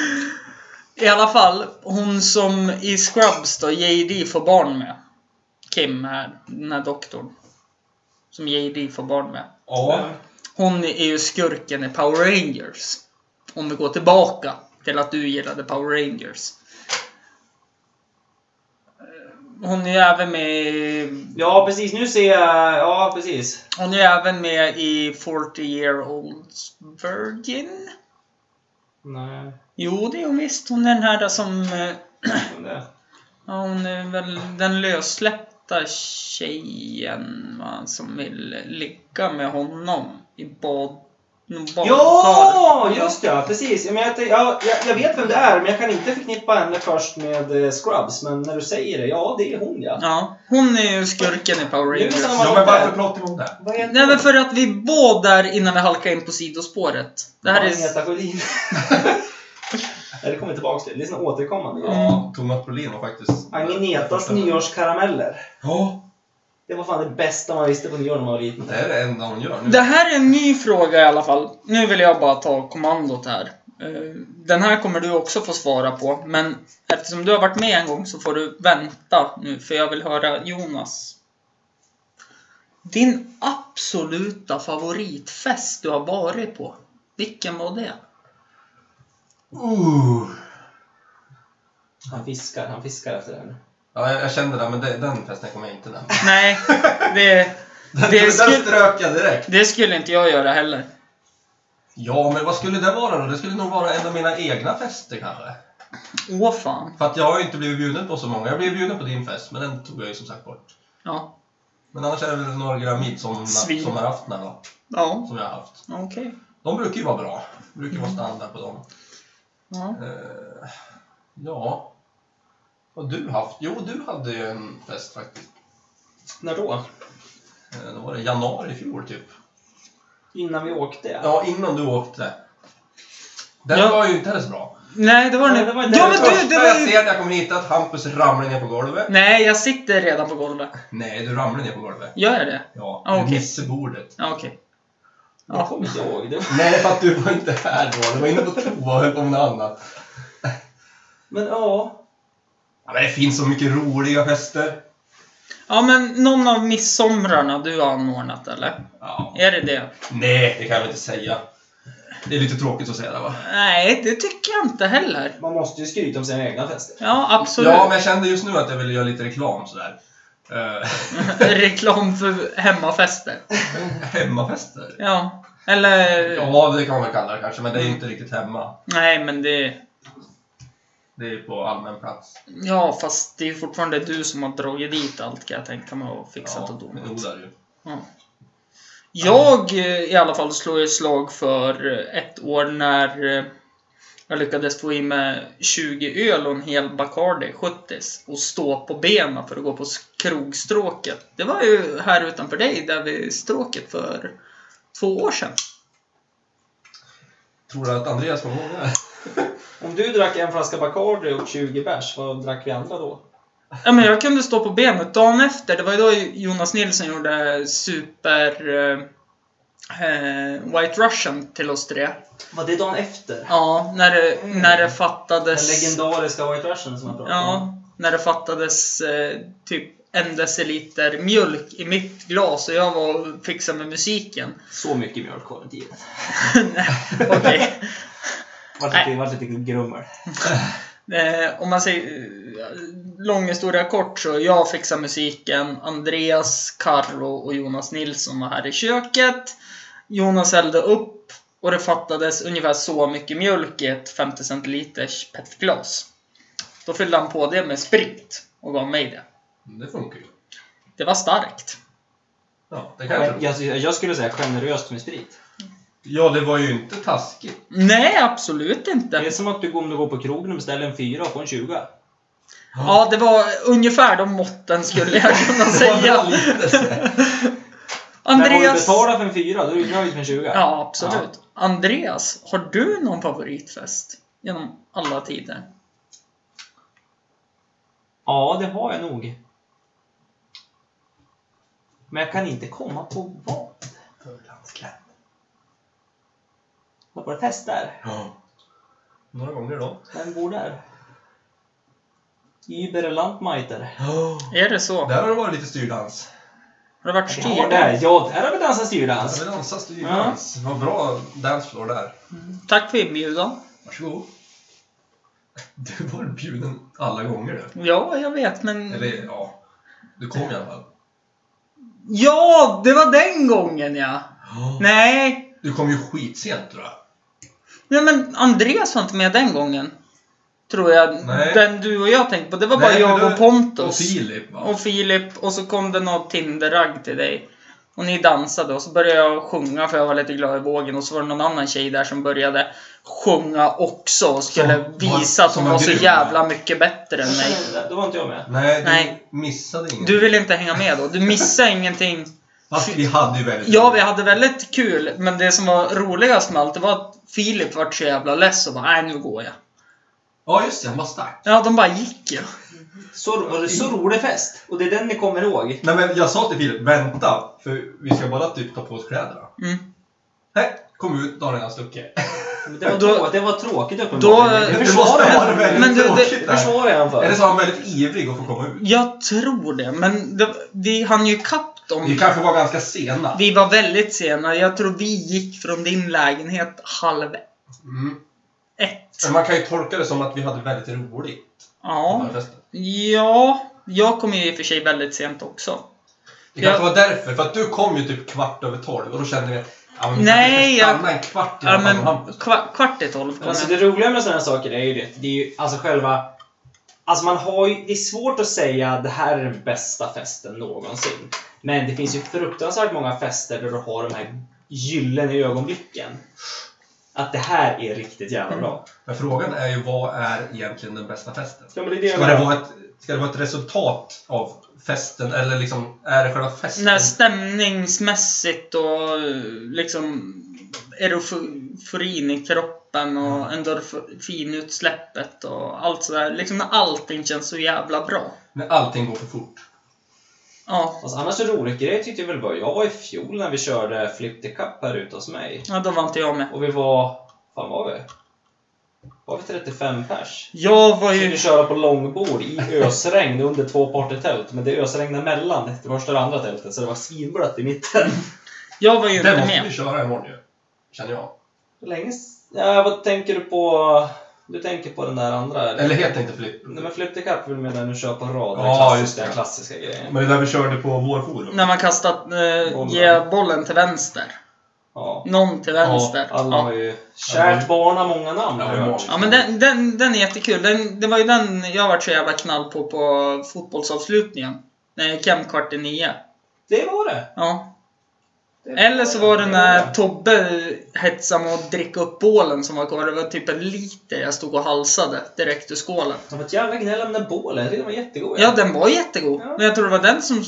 I alla fall, hon som i Scrubs då, JD får barn med. Kim här, den här doktorn. Som JD får barn med. Ja. Hon är ju skurken i Power Rangers. Om vi går tillbaka till att du gillade Power Rangers. Hon är ju även med i- Ja, precis. Nu ser jag... Ja, precis. Hon är ju även med i 40 year old virgin. Nej. Jo, det är hon visst. Hon är den här som eh, vem det är. Ja, hon är väl den lössläppta tjejen va, som vill ligga med honom i bad... någon Ja, badkar. just ja, precis. Ja, men jag, tänkte- ja, jag, jag vet vem det är, men jag kan inte förknippa henne först med eh, Scrubs. Men när du säger det, ja, det är hon ja. Ja, hon är ju skurken i Power Det är väl Rangers. samma- Ja, men varför prata emot det? Vad heter Nej men hon? för att vi båda där innan vi halkar in på sidospåret. Det här är... Agneta Sjödin. Nej, det kommer tillbaks till. Det är såna återkommande grejer. Ja, Thomas Brolin var faktiskt... Agnetas nyårskarameller. Ja, Det var fan det bästa man visste på nyår när man var liten. det är det enda hon gör nu. Det här är en ny fråga i alla fall. Nu vill jag bara ta kommandot här. Eh, Den här kommer du också få svara på, men eftersom du har varit med en gång så får du vänta nu, för jag vill höra Jonas. Din absoluta favoritfest du har varit på, vilken var det? Uh. Han fiskar, han fiskar efter det här nu. Ja, jag, jag kände det, men det, den festen kommer jag inte nämna. Nej, det, Den, Det den skulle- strök jag direkt. det skulle inte jag göra heller. Ja, men vad skulle det vara då? Det skulle nog vara en av mina egna fester kanske. Åh fan. För att jag har ju inte blivit bjuden på så många. Jag blev bjuden på din fest, men den tog jag ju som sagt bort. Ja. Men annars är det väl några midsommar- Svin. sommaraftnar då, Ja, som jag har haft. okej. De brukar ju vara bra. Det brukar ju vara standard på dem. Ja. Eh, ja. Vad har du haft? Jo, du hade ju en fest faktiskt. När då? Eh, Då var det januari i fjol typ. Innan vi åkte ja. Ja, innan du åkte. Den Ja. var ju inte heller så bra. Nej, det var Nej, nu. det var inte Ja, det men Första du, det var jag ju... ser när jag kommer hit är att Hampus ramlar ner på golvet. Nej, jag sitter redan på golvet. Nej, du ramlar ner på golvet. Gör jag det? Ja, Ah, du okej. missade bordet. Ja, okej. Jag kommer inte ihåg. Det. Nej, för att du var inte här då. Du var inne på toa och höll på med något annat. Men ja. Ja, men det finns så mycket roliga fester. Ja, men någon av midsomrarna du har anordnat, eller? Ja. Är det det? Nej, det kan jag inte säga. Det är lite tråkigt att säga det va? Nej, det tycker jag inte heller. Man måste ju skryta om sina egna fester. Ja, absolut. Ja, men jag kände just nu att jag ville göra lite reklam sådär. Eh, Reklam för hemmafester. hemmafester? Ja. Eller... Ja, det kan man väl kalla det kanske, men det är ju inte riktigt hemma. Nej, men det... Det är ju på allmän plats. Ja, fast det är ju fortfarande du som har dragit dit allt kan jag tänka mig och fixat och Ja, jo, donat. det är det ju. Ja. Jag eh, i alla fall slår ett slag för eh, ett år när eh, jag lyckades få i mig 20 öl och en hel Bacardi 70 och stå på benen för att gå på s- krogstråket. Det var ju här utanför dig, där vid stråket för två år sedan. Tror du att Andreas kommer ihåg det? här? Om du drack en flaska Bacardi och 20 bärs, vad drack vi andra då? Ja, men jag kunde stå på benet dagen efter. Det var ju då Jonas Nilsson gjorde super... eh, Eh, White Russian till oss tre. Var det dagen efter? Ja, när det, när det fattades... Den legendariska White Russian som jag pratade om. Ja, när det fattades eh, typ en deciliter mjölk i mitt glas och jag var och fixade med musiken. Så mycket mjölk var det inte givet. Nej, Okej. Vart Nej. lite, vart lite grummel. Eh, om man säger... eh, Lång historia kort så jag fixade musiken. Andreas, Karro och Jonas Nilsson var här i köket. Jonas hällde upp och det fattades ungefär så mycket mjölk i ett 50 centiliters petglas. Då fyllde han på det med sprit och gav mig det. Det funkar ju. Det var starkt. Ja, det kan jag Jag, tro. jag, jag skulle säga generöst med sprit. Ja, det var ju inte taskigt. Nej, absolut inte. Det är som att du går, om du går på krogen och beställer en fyra och får en 20. Ja, det var ungefär de måtten skulle jag kunna säga. Men om du Andreas... betalar för en fyra, då är du nöjd med en 20. Ja, absolut. Andreas, har du någon favoritfest? Genom alla tider? Ja, det har jag nog. Men jag kan inte komma på vad. Förlandsklädd. Vad var det fest där? Ja. Några gånger då. Vem bor där? Über Landmeiter. Är det så? Där har det varit lite styrdans. Har det varit Ja, styrt? där. Ja, där har vi dansat Alltså, styrdans. vi dansade styrdans. Vad bra dancefloor där. Tack för inbjudan. Varsågod. Du var bjuden alla gånger du. Ja, jag vet, men... Eller ja, du kom i alla fall. Ja, det var den gången ja! Nej! Du kom ju skitsent tror jag. Nej men Andreas var inte med den gången. Tror jag. Nej. Den du och jag tänkte på. Det var bara Nej, men jag du- och Pontus. Och Filip va? och Filip och så kom det något Tinder-ragg till dig. Och ni dansade och så började jag sjunga för jag var lite glad i vågen och så var det någon annan tjej där som började sjunga också och skulle Som var- visa att som hon var var så grym. jävla mycket bättre än mig. Då var inte jag med. Nej, du Nej. missade inget. Du ville inte hänga med då. Du missade ingenting. Fast vi hade ju väldigt Ja, vi hade väldigt kul, men det som var roligast med allt det var att Filip vart så jävla less och bara nej nu går jag. Ja, just det. Han var stark. Ja, de bara gick ju. Så, var det så rolig fest. Och det är den ni kommer ihåg. Nej men jag sa till Filip, vänta. För vi ska bara typ ta på oss kläderna. Mm. Nej, kom ut dagen innan stucket. Men Det var, Och då- trå- det var tråkigt Då uppenbarligen. Det försvarade måste vara jag- väldigt Men du, det, tråkigt. Hur svår är han för? Eller så var han väldigt ivrig att få komma ut. jag tror det, men det, vi hann ju ikapp dem. Vi kanske var ganska sena. Vi var väldigt sena. Jag tror vi gick från din lägenhet halv Mm. ett. Men man kan ju tolka det som att vi hade väldigt roligt. Ja. här festen. Ja, jag kom ju i och för sig väldigt sent också. Det kanske var därför, för att du kom ju typ kvart över tolv och då kände vi att ja, men vi Nej, kanske jag- ska stanna en kvart i Ja, alla fall men med Hampus. kva- kvart i tolv kom Alltså jag. det roliga med sådana här saker är ju det, det är ju alltså själva... Alltså man har ju, det är svårt att säga det här är den bästa festen någonsin. Men det finns ju fruktansvärt många fester där du har de här gyllene ögonblicken. Att det här är riktigt jävla bra. Men frågan är ju vad är egentligen den bästa festen? Mm. Ja, men det är det jag Ska det menar. vara ett, ska det vara ett resultat av festen eller liksom är det själva festen? När stämningsmässigt och eh, liksom euforin i kroppen Mm. och endorfinutsläppet och allt sådär. Liksom när allting känns så jävla bra. När allting går för fort. Ja, Alltså annars en rolig grej tyckte jag väl var jag var i fjol när vi körde Flip the Cup här ute hos mig. ja då var inte jag med. Och vi var... fan var vi? Var vi 35 pers? Jag var Vi ju... skulle köra på långbord i ösregn under två partytält, men det ösregnade mellan det första och andra tältet så det var svinblött i mitten. Jag var ju Det inte måste vi med. köra imorgon ju. Känner jag. Hur länge... s- Ja, vad tänker du på? Du tänker på den där andra? Eller? Eller heter inte Flipp. Nej, men Flip the Cup vill mena när du kör på rad, den Ja, just klassiska, det. klassiska grejen. Men det där vi körde på vår forum. När man kastat... Eh, Bollen. ge bollen till vänster. Ja. Någon till vänster. Alla Ja. har ju... Kärt barn har många namn. Ja, har jag men- hört. Ja men den, den, den är jättekul. Den, det var ju den jag varit så jävla knall på på fotbollsavslutningen. När jag gick hem kvart i nio. Det var det! Ja. Eller så var det när Tobbe hetsade mig att dricka upp bålen som var kvar. Det var typ en liter jag stod och halsade direkt ur skålen. Det var ett jävla gnäll om den bålen. Jag tyckte den var jättegod. Ja, den var jättegod. Ja. Men jag tror det var den som...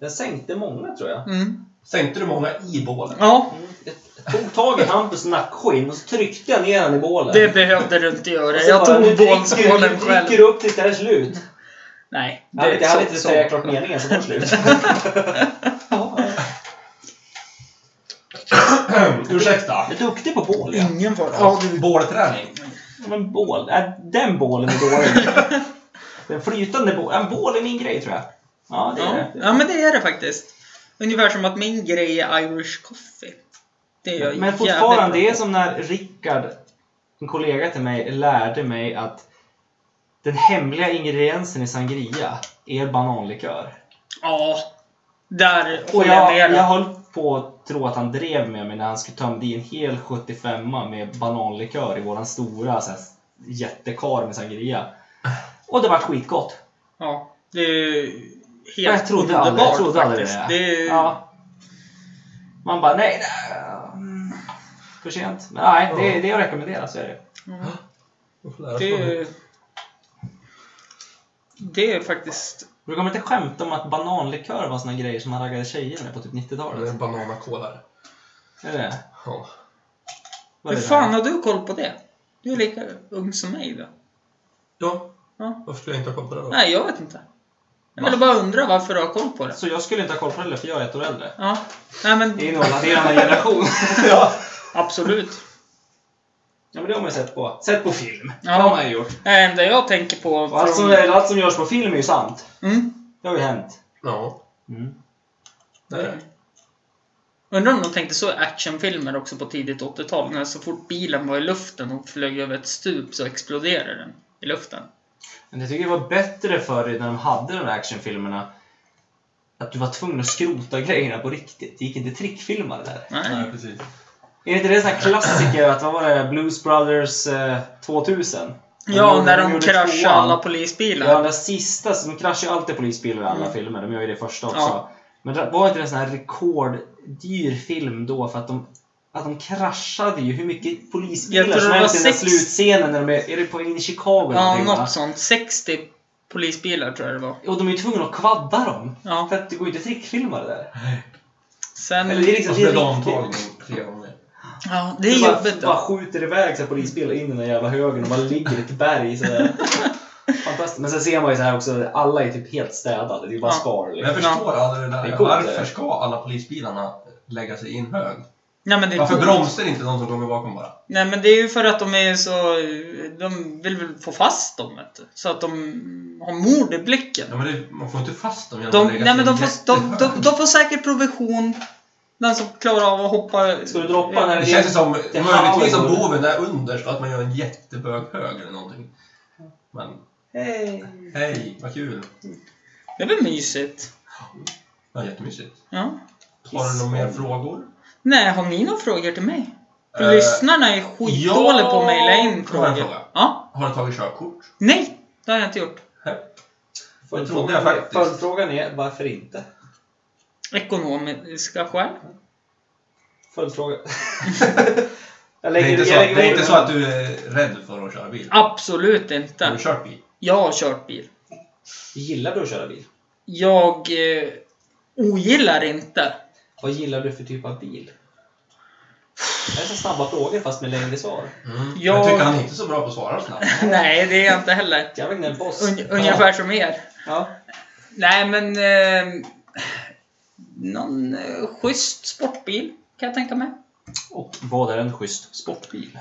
Den sänkte många tror jag. Mm. Sänkte du många i bålen? Ja, Mm. Jag jag tog tag i Hampus nackskinn och så tryckte jag ner den i bålen. det behövde du inte göra. Och så Jag Alltså, bara, "Nu tog dricker du- bålskålen Du dricker själv. upp tills det här är slut. Nej, Jag hade, jag hade inte så- säga så. klart meningen så var det slut. Ursäkta. Jag är duktig på bål, ja. Ingen fara. Ja, du... Bålträning. Ja, Men bål, äh, den bålen är dålig. Den flytande bålen. En bål är min grej tror jag. Ja, det är Ja. det. ja, men det är det faktiskt. Ungefär som att min grej är Irish coffee. Det är jag Men jävligt bra fortfarande, det är på. som när Rickard, en kollega till mig, lärde mig att den hemliga ingrediensen i sangria är bananlikör. Ja. Där Och håller jag jag, med jag dig. höll på att tro att han drev med mig när han skulle tömde i en hel 75 med bananlikör i våran stora så här, jättekar med sangria. Och det var skitgott. Ja. Det är ju helt Jag trodde aldrig, jag underbart trodde aldrig faktiskt. det. det är, ja. Ja. Man bara, nej, nej. mm, För sent. Men nej, det, det är att rekommendera, så är det. Vi får lära oss det, vad vi- är, det är faktiskt... Du kommer inte skämta om att bananlikör var såna grejer som man raggade tjejer med på typ 90-talet? Det är bananakolare. Är det Ja. Vad Hur är det? fan har du koll på det? Du är lika ung som mig va? ja. Ja. Varför skulle jag inte ha koll på det då? Nej, jag vet inte. Jag ville bara undra varför du har koll på det. Så jag skulle inte ha koll på det heller, för jag är ett år äldre. Ja. Nej Det är men nog det är en annan generation. ja. absolut. ja, men det har man ju sett på. Sett på film. Ja. Det har man ju gjort. Det enda jag tänker på... Och allt, som, från- allt som görs på film är ju sant. Mm. Det har ju hänt. Ja. Mm. Det är det. Undrar om de tänkte så i actionfilmer också på tidigt 80-tal, när så fort bilen var i luften och flög över ett stup så exploderade den i luften. Men jag tycker det var bättre förr när de hade de här actionfilmerna. Att du var tvungen att skrota grejerna på riktigt. Det gick inte trickfilmar där. Nej. Nej, precis. Är inte det en sån här klassiker att vad var det? Blues Brothers eh, 2000? Ja, när de gjorde kraschade tvåan. alla Ja, polisbilar. den sista, de kraschar ju alltid polisbilar i alla Mm. filmer. De gör ju det första också. Ja. Men det var inte det en sån här rekorddyr film då för att de, att de kraschade ju hur mycket Jag polisbilar tror som det helst var i den där sex. slutscenen när de är, är det på in i Chicago eller Ja, någonting va? något sånt. 60 polisbilar tror jag det var. Och de är ju tvungna att kvadda dem. Ja. För att det går ju inte att trickfilma det där. Sen... Eller det är liksom, Och så det är blev det riktigt. omtagning tre gånger. Ja, det är bara, jobbigt bara då. skjuter iväg så här polisbilar in i den där jävla högen och bara ligger i ett berg sådär. Fantastiskt. Men sen ser man ju så här också, alla är typ helt städade. Det är ju bara Ja. skal. Men jag Liksom. förstår aldrig det Det är där. coolt, Varför det. ska alla polisbilarna lägga sig i en hög? Nej men, det är Varför coolt. bromsar inte någon som kommer bakom bara? Nej men det är ju för att de är så... De vill väl få fast dem vet du. Så att de har mord i blicken. Ja, men det, man får inte fast dem genom De, att lägga nej, men sig de, får, jättehögt. de, de, de får säkert provision. Den som klarar av att hoppa... Ska du droppa den här? Det känns ju som, Det är möjligtvis Howard. som boven är underst, att man gör en jättebög hög eller någonting. Men Hej! Hej, vad kul! Det var mysigt. Ja, jättemysigt. Ja. Har du några mer frågor? Nej, har ni några frågor till mig? För Eh, lyssnarna är skitdåliga på att mejla in jag har en frågor. fråga. Ja. Har du tagit körkort? Nej, det har jag inte gjort. Det trodde jag faktiskt. Följdfrågan är varför inte? Ekonomiska skäl. Följdfråga. jag Det är inte så, jag lägger det är in inte den. så att du är rädd för att köra bil? Absolut Har du inte. kört bil? Jag har kört bil. Gillar du att köra bil? Jag eh, ogillar inte. Vad gillar du för typ av bil? Det är så snabba frågor fast med längre svar. Mm. Jag... Jag- tycker han är inte så bra på att svara snabbt. Nej, det är jag inte heller. Jag vet inte, en boss. Un ungefär som er. Ja. Nej, men... Eh, någon eh, schysst sportbil kan jag tänka mig. Och vad är en schysst sportbil?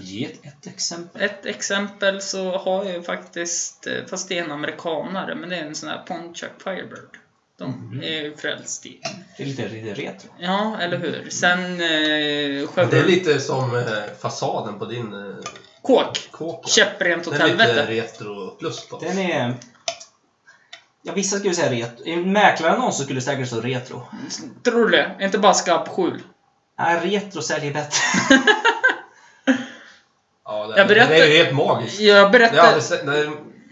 Ge ett, ett exempel. Ett exempel så har jag ju faktiskt, eh, fast det är en amerikanare, men det är en sån här Pontiac Firebird. De Mm. är jag ju frälst i. Det är lite, lite retro. Ja, eller hur? Sen eh, Men det är Chevrolet lite som eh, fasaden på din eh, Kåk. kåk. Käpprent åt Den är lite helvete. retro-plus på. Den är... Ja, vissa skulle säga retro. I en mäklarannons så skulle det säkert stå retro. Tror du det? Inte bara skabbskjul. Nej, retro säljer bättre. Ja, den, Jag berättar- den är ju helt magisk. Jag Det är berättade, alldeles, den är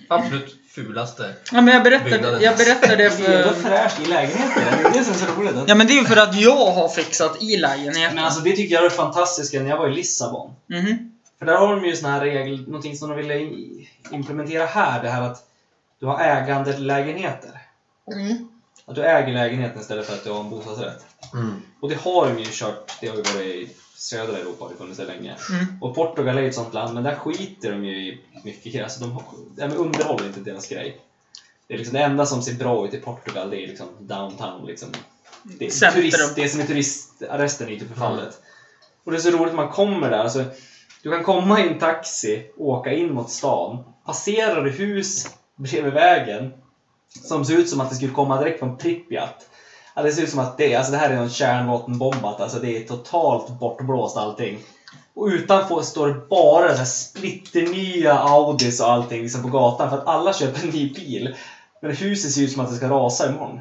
absolut fulaste. ja, men jag berättade, byggnaden. jag berättade det Det är ändå för... fräscht i lägenheten. Det är det som är så roligt. Ja men det är ju för att jag har fixat i lägenheten. Men alltså det tycker jag är fantastiskt när jag var i Lissabon. Mhm. För där har de ju sån här regel, någonting som de ville i- implementera här. Det här att du har ägandelägenheter. Mm. Att du äger lägenheten istället för att du har en bostadsrätt. Mm. Och det har de ju kört, det har ju varit i södra Europa, det funnits det länge. Mm. Och Portugal är ju ett sånt land, men där skiter de ju i mycket. Alltså de har, det här med underhåll är inte deras grej. Det, är liksom det enda som ser bra ut i Portugal, det är liksom downtown. Liksom. Det, är Centrum. turist, det som är turistarresten är ju förfallet. Och det är så roligt när man kommer där. Alltså, du kan komma i en taxi, åka in mot stan. Passerar du hus bredvid vägen som ser ut som att det skulle komma direkt från Pripyat. Ja, det ser ut som att det, alltså det här är någon kärnvapenbombat. Alltså det är totalt bortblåst allting. Och utanför står det bara den här splitternya Audis och allting liksom på gatan för att alla köper en ny bil. Men huset ser ut som att det ska rasa imorgon.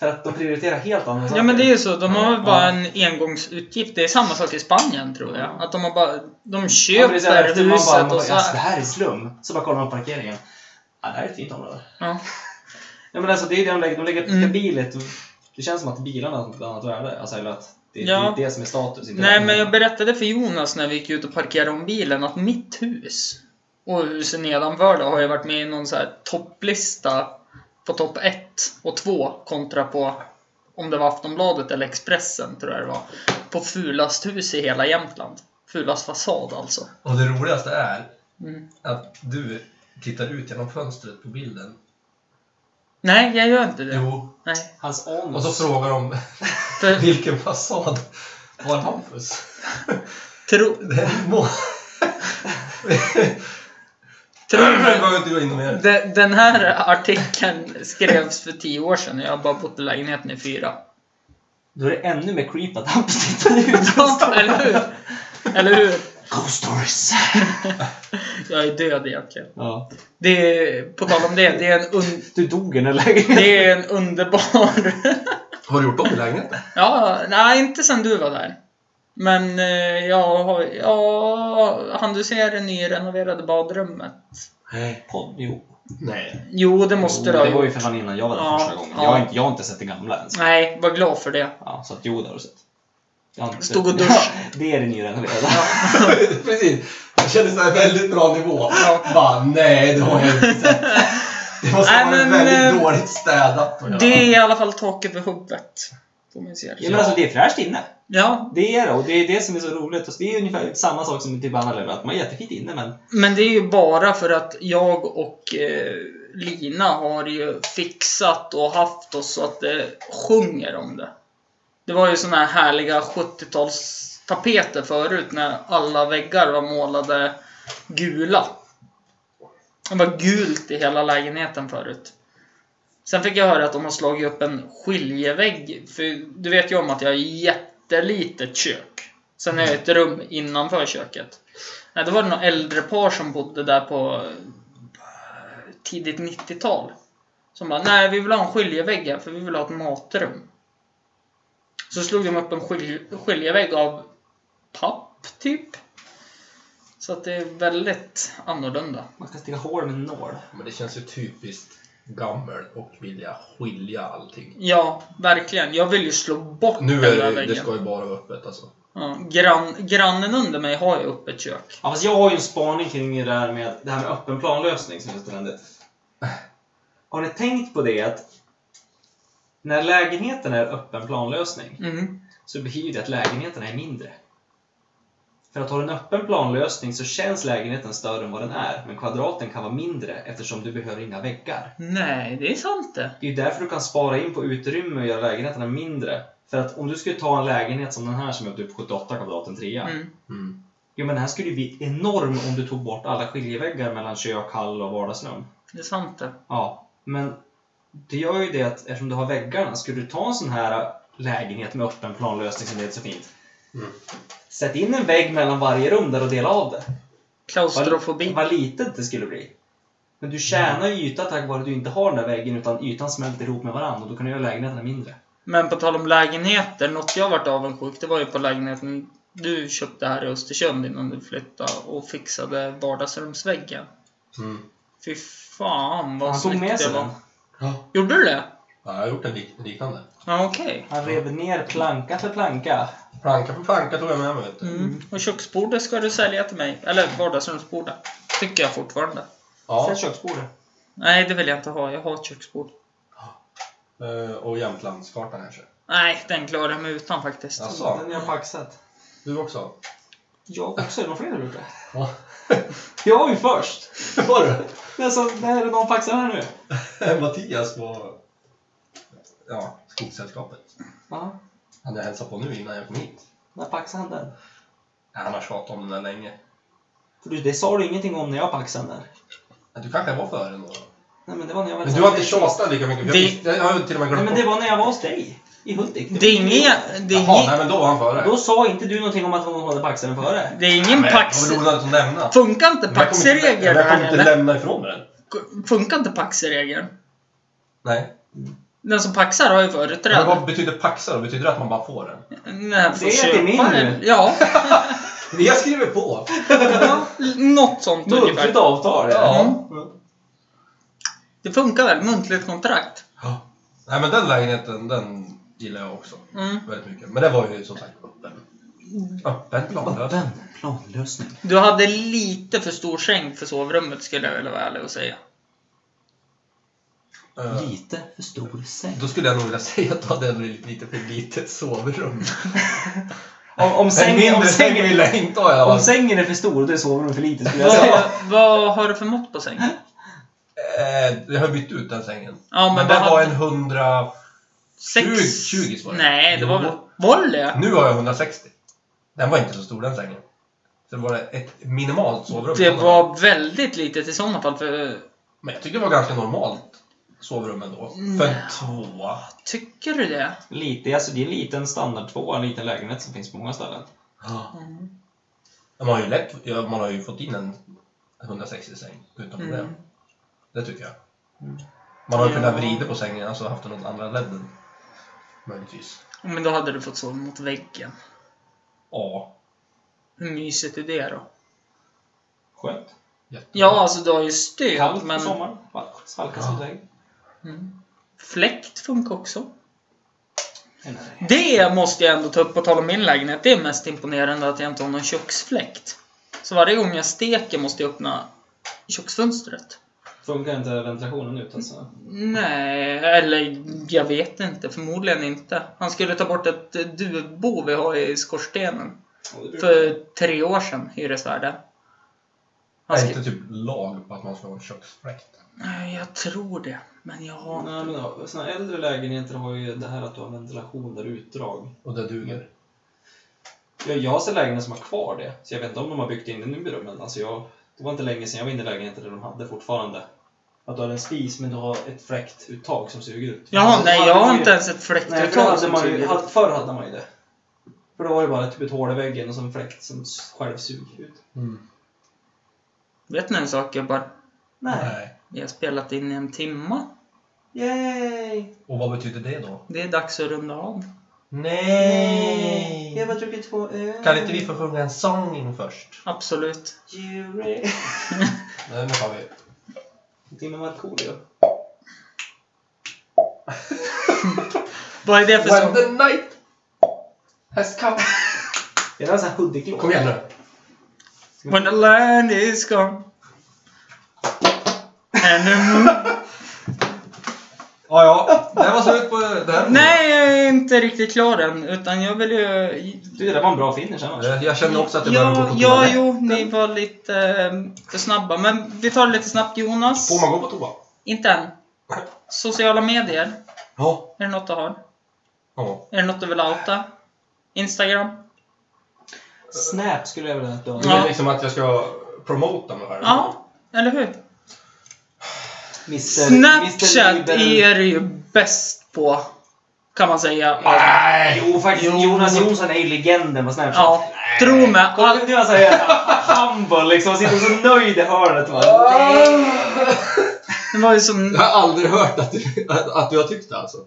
För att de prioriterar helt andra Ja men det är ju så, de har väl bara Ja. en engångsutgift. Det är samma sak i Spanien tror jag. Att de har bara... De Ja, men köper det är så här, efter man bara, man huset bara, och så alltså, det här. här är slum. Så bara kollar man på parkeringen. Ja, det här är ett fint område. Ja. Ja, men alltså, det är ju det de lägger, de lägger Mm. mm. bilet. Det känns som att bilarna har ett annat värde. Alltså, eller att det, Ja. det är det som är status. Inte Nej värde. men jag berättade för Jonas när vi gick ut och parkerade om bilen att mitt hus och husen nedanför det har ju varit med i någon så här topplista på topp 1 och 2 kontra på om det var Aftonbladet eller Expressen tror jag det var. På fulast hus i hela Jämtland. Fulast fasad alltså. Och det roligaste är Mm. att du tittar ut genom fönstret på bilden. Nej, jag gör inte det. Jo. Nej. Hans anus. Och så frågar de För vilken fasad har Hampus? tro, Det är må... tro, Jag behöver inte gå in och mer. de, den här artikeln skrevs för 10 år sedan och jag har bara bott i lägenheten i fyra. Då är det ännu mer creep att han tittar ut. och står- Eller hur? Eller hur? Ghost stories. Jag är död egentligen. ja. Det är, på tal om det, det är en, un, Du dog i den här lägenheten. det är en underbar... Har du gjort om i lägenheten? ja, nej, inte sen du var där. Men eh, jag har... Ja, han du ser det nyrenoverade badrummet? Nej. Podd, jo. Nej. Jo, det måste jo, du ha Det var ju gjort. för fan innan jag var där Ja, första gången. ja. Jag, har inte, jag har inte sett det gamla ens. Nej, var glad för det. Ja, så att jo, det har du sett. Jag har inte Stod sett- och dusch. Ja, det är det nyrenoverade. Precis. Det kändes såhär väldigt bra nivå. Ja. Bara, nej, det har jag inte sett. Det måste Nej, vara men, väldigt eh, dåligt städat. att göra. Det är i alla fall tak över huvudet. Får man se. Ja, men alltså det är fräscht inne. Ja, Det är det, och det är det som är så roligt. Och det är ungefär samma sak som typ andra lever, att man är jättefint inne men... Men det är ju bara för att jag och eh, Lina har ju fixat och haft oss så att det sjunger om det. Det var ju såna här härliga 70-talstapeter förut när alla väggar var målade gula. Det var gult i hela lägenheten förut. Sen fick jag höra att de har slagit upp en skiljevägg. För du vet ju om att jag har jättelitet kök. Sen har jag ett rum innanför köket. Nej, det var det några äldre par som bodde där på eh, tidigt 90-tal. Som bara, nej vi vill ha en skiljevägg här för vi vill ha ett matrum. Så slog de upp en skilj- skiljevägg av papp, typ. Så att det är väldigt annorlunda. Man kan sticka hål med en nål. Men det känns ju typiskt gammel och vilja skilja allting. Ja, verkligen. Jag vill ju slå bort Nu den är där det, väggen. det ska ju bara vara öppet alltså. Ja, grann, grannen under mig har ju öppet kök. Ja, fast jag har ju en spaning kring det där med, det här med öppen planlösning som är så trendigt. Har ni tänkt på det att när lägenheten är öppen planlösning Mm. så betyder det att lägenheterna är mindre. För att ha en öppen planlösning så känns lägenheten större än vad den är, men kvadraten kan vara mindre eftersom du behöver inga väggar. Nej, det är sant det. Det är ju därför du kan spara in på utrymme och göra lägenheterna mindre. För att om du skulle ta en lägenhet som den här som är typ 78 kvadrat, en trea. Mm. Mm. Jo men den här skulle ju bli enorm om du tog bort alla skiljeväggar mellan kök, hall och vardagsrum. Det är sant det. Ja, men det gör ju det att eftersom du har väggarna, skulle du ta en sån här lägenhet med öppen planlösning som det heter så fint. Mm. Sätt in en vägg mellan varje rum där och dela av det. Klaustrofobi. Vad litet det skulle bli. Men du tjänar ju yta tack vare att du inte har den där väggen utan ytan smälter ihop med varandra och då kan du göra lägenheterna mindre. Men på tal om lägenheter, något jag varit avundsjuk det var ju på lägenheten du köpte här i Östersund innan du flyttade och fixade vardagsrumsväggen. Mm. Fy fan vad Han tog snyggt med det sig den. var. Gjorde du det? Ja, jag har gjort en lik- liknande. Ja, okej. Han rev ner planka för planka. Planka för planka tog jag med mig. Vet du. Mm. Och köksbordet ska du sälja till mig. Eller vardagsrumsbordet. Tycker jag fortfarande. Ja, Sätt köksbordet. Nej, det vill jag inte ha. Jag har ett köksbord. eh, och Jämtlandskartan kanske. Nej, den klarar jag mig utan faktiskt. Jaså? Den är jag paxat. Du också? Jag också, är det någon fler där ute? Ja. Jag var ju först! Var du? Alltså, är det någon paxar här nu? Eh, Mattias på ja, Skogssällskapet. Ja, Han jag hälsade på nu innan jag kom hit. när paxade han den? Nej, Han har tjatat om den där länge. För du, det sa du ingenting om när jag paxade den där. Ja, Du kanske var före ändå? Nej men det var när jag var Men du har inte tjatat lika mycket. för Jag, Det- visste- jag har ju till och med Nej glömt men det bort. var när jag var hos dig. I Hudik. Det var- Det är ingen... Det är Jaha, nej ingen, men då var han före. Då sa inte du någonting om att någon hade paxat den före. det är ingen Men, pax... Det var roligt att nämna. Funkar inte Men jag kommer inte- Jag paxregeln kommer här inte eller? lämna ifrån mig den. Funkar inte paxregeln? Nej. Den som paxar har ju Men företräde. vad betyder paxa då? Betyder det att man bara får den? Nej, får Det är köpa det min. en- Ja, Vi har skrivit på! något sånt ungefär. Muntligt avtal. Mm. Ja. Det funkar väl? Muntligt kontrakt? Ja. Nej men den lägenheten, den gillar jag också. Mm. Väldigt mycket. Men det var ju som sagt öppen. Öppen planlös. Öppen planlösning. Du hade lite för stor säng för sovrummet skulle jag vilja vara ärlig och säga. Eh, Lite för stor säng. Då skulle jag nog vilja säga att du hade en lite för litet sovrum. Om, om, En sängen, om, mindre säng vill sängen, jag inte ha i alla om fall. sängen är för stor, då är sovrummet för litet skulle jag säga. Vad, vad har du för mått på säng? Eh, Jag har bytt ut den sängen. Ja, men men vad den var hade- en 100... Sex? 20 20 var det. Nej, det var Jo. väl... Var det Mm. det? Nu har jag 160. Den var inte så stor den sängen. Så det var ett minimalt sovrum. Det var väldigt litet i sådana fall för... Men jag tyckte det var ganska normalt sovrum ändå. För en tvåa. Tycker du det? Lite, alltså det är en liten standard två, en liten lägenhet som finns på många ställen. Mm. Man har ju, lätt, ja, man har ju fått in en 160 säng utan problem. Mm. Det tycker jag. Man har ju Ja. kunnat vrida på sängen, alltså haft den åt andra ledden. Möjligtvis. Men då hade du fått sova mot väggen. Ja, Hur mysigt är det då? Skönt. jättebra. Ja, alltså du har ju stöd, Kallt på men... sommaren. Valk- Svalkas Ja. iväg. Mm. Fläkt funkar också. Nej, nej, nej. Det måste jag ändå ta upp på tal om min lägenhet. Det är mest imponerande att jag inte har någon köksfläkt. Så varje gång jag steker måste jag öppna köksfönstret. Funkar inte ventilationen ut alltså? Nej, eller jag vet inte. Förmodligen inte. Han skulle ta bort ett eh, duvbo vi har i skorstenen. För tre år sedan, hyresvärden. Han Är skri- inte typ lag på att man ska ha en köksfläkt? Nej, jag tror det. Men jag har... Nej, men ja, såna äldre lägenheter har ju det här att du har ventilation där utdrag. Och det duger. Jag, jag har sett lägenheter som har kvar det, så jag vet inte om de har byggt in det nu i rummen. Alltså jag, det var inte länge sedan jag var inne i lägenheter där de hade fortfarande. Att du hade en spis men du har ett fläktuttag som suger ut. Jaha, Alltså, nej, hade jag man har ju- inte ens ett Nej, för det fläktuttag hade som man ju, suger hade, ut. förr hade man ju det. För då var det bara typ ett hål i väggen och så en fläkt som Mm. s- själv suger ut. Vet ni en sak, jag bara... Nej. Nej. Vi har spelat in i en timma. Yay! Och vad betyder det då? Det är dags att runda av. Jag har bara druckit två öl. Kan inte vi få sjunga en sång in först? Absolut. Jury. Nej, nu har vi. Timmy Markoolio. Vad är det för When sång? the night has come. Är det en sån här Hudik-låt? Kom igen nu. When the land is gone. And the moon. Ja, ja. Det här var slut på det här. Nej, jag är inte riktigt klar än. Utan jag vill ju... Du, det där var en bra finish annars. Eh, Jag känner också att jag behöver gå på Ja, ja toaletten. jo, ni var lite eh, för snabba. Men vi tar det lite snabbt, Jonas. Får man gå på toa? Inte än. Sociala medier. Ja. Är det något du har? Ja. Är det något du vill outa? Instagram? Snap skulle jag vilja att du Du har. Ja. vill liksom att jag ska promota mig här? Ja, eller hur? Mr. Snapchat Mr. Liberal. är det ju bäst på, kan man säga. Nej! Jo, faktiskt. Jonas Jonsson är ju legenden på Snapchat. Ja, tro mig. Kolla All, inte hur han säger humble liksom. Sitter så nöjd i hörnet. Va? det var ju som Jag har aldrig hört att du, att, att du har tyckt det alltså.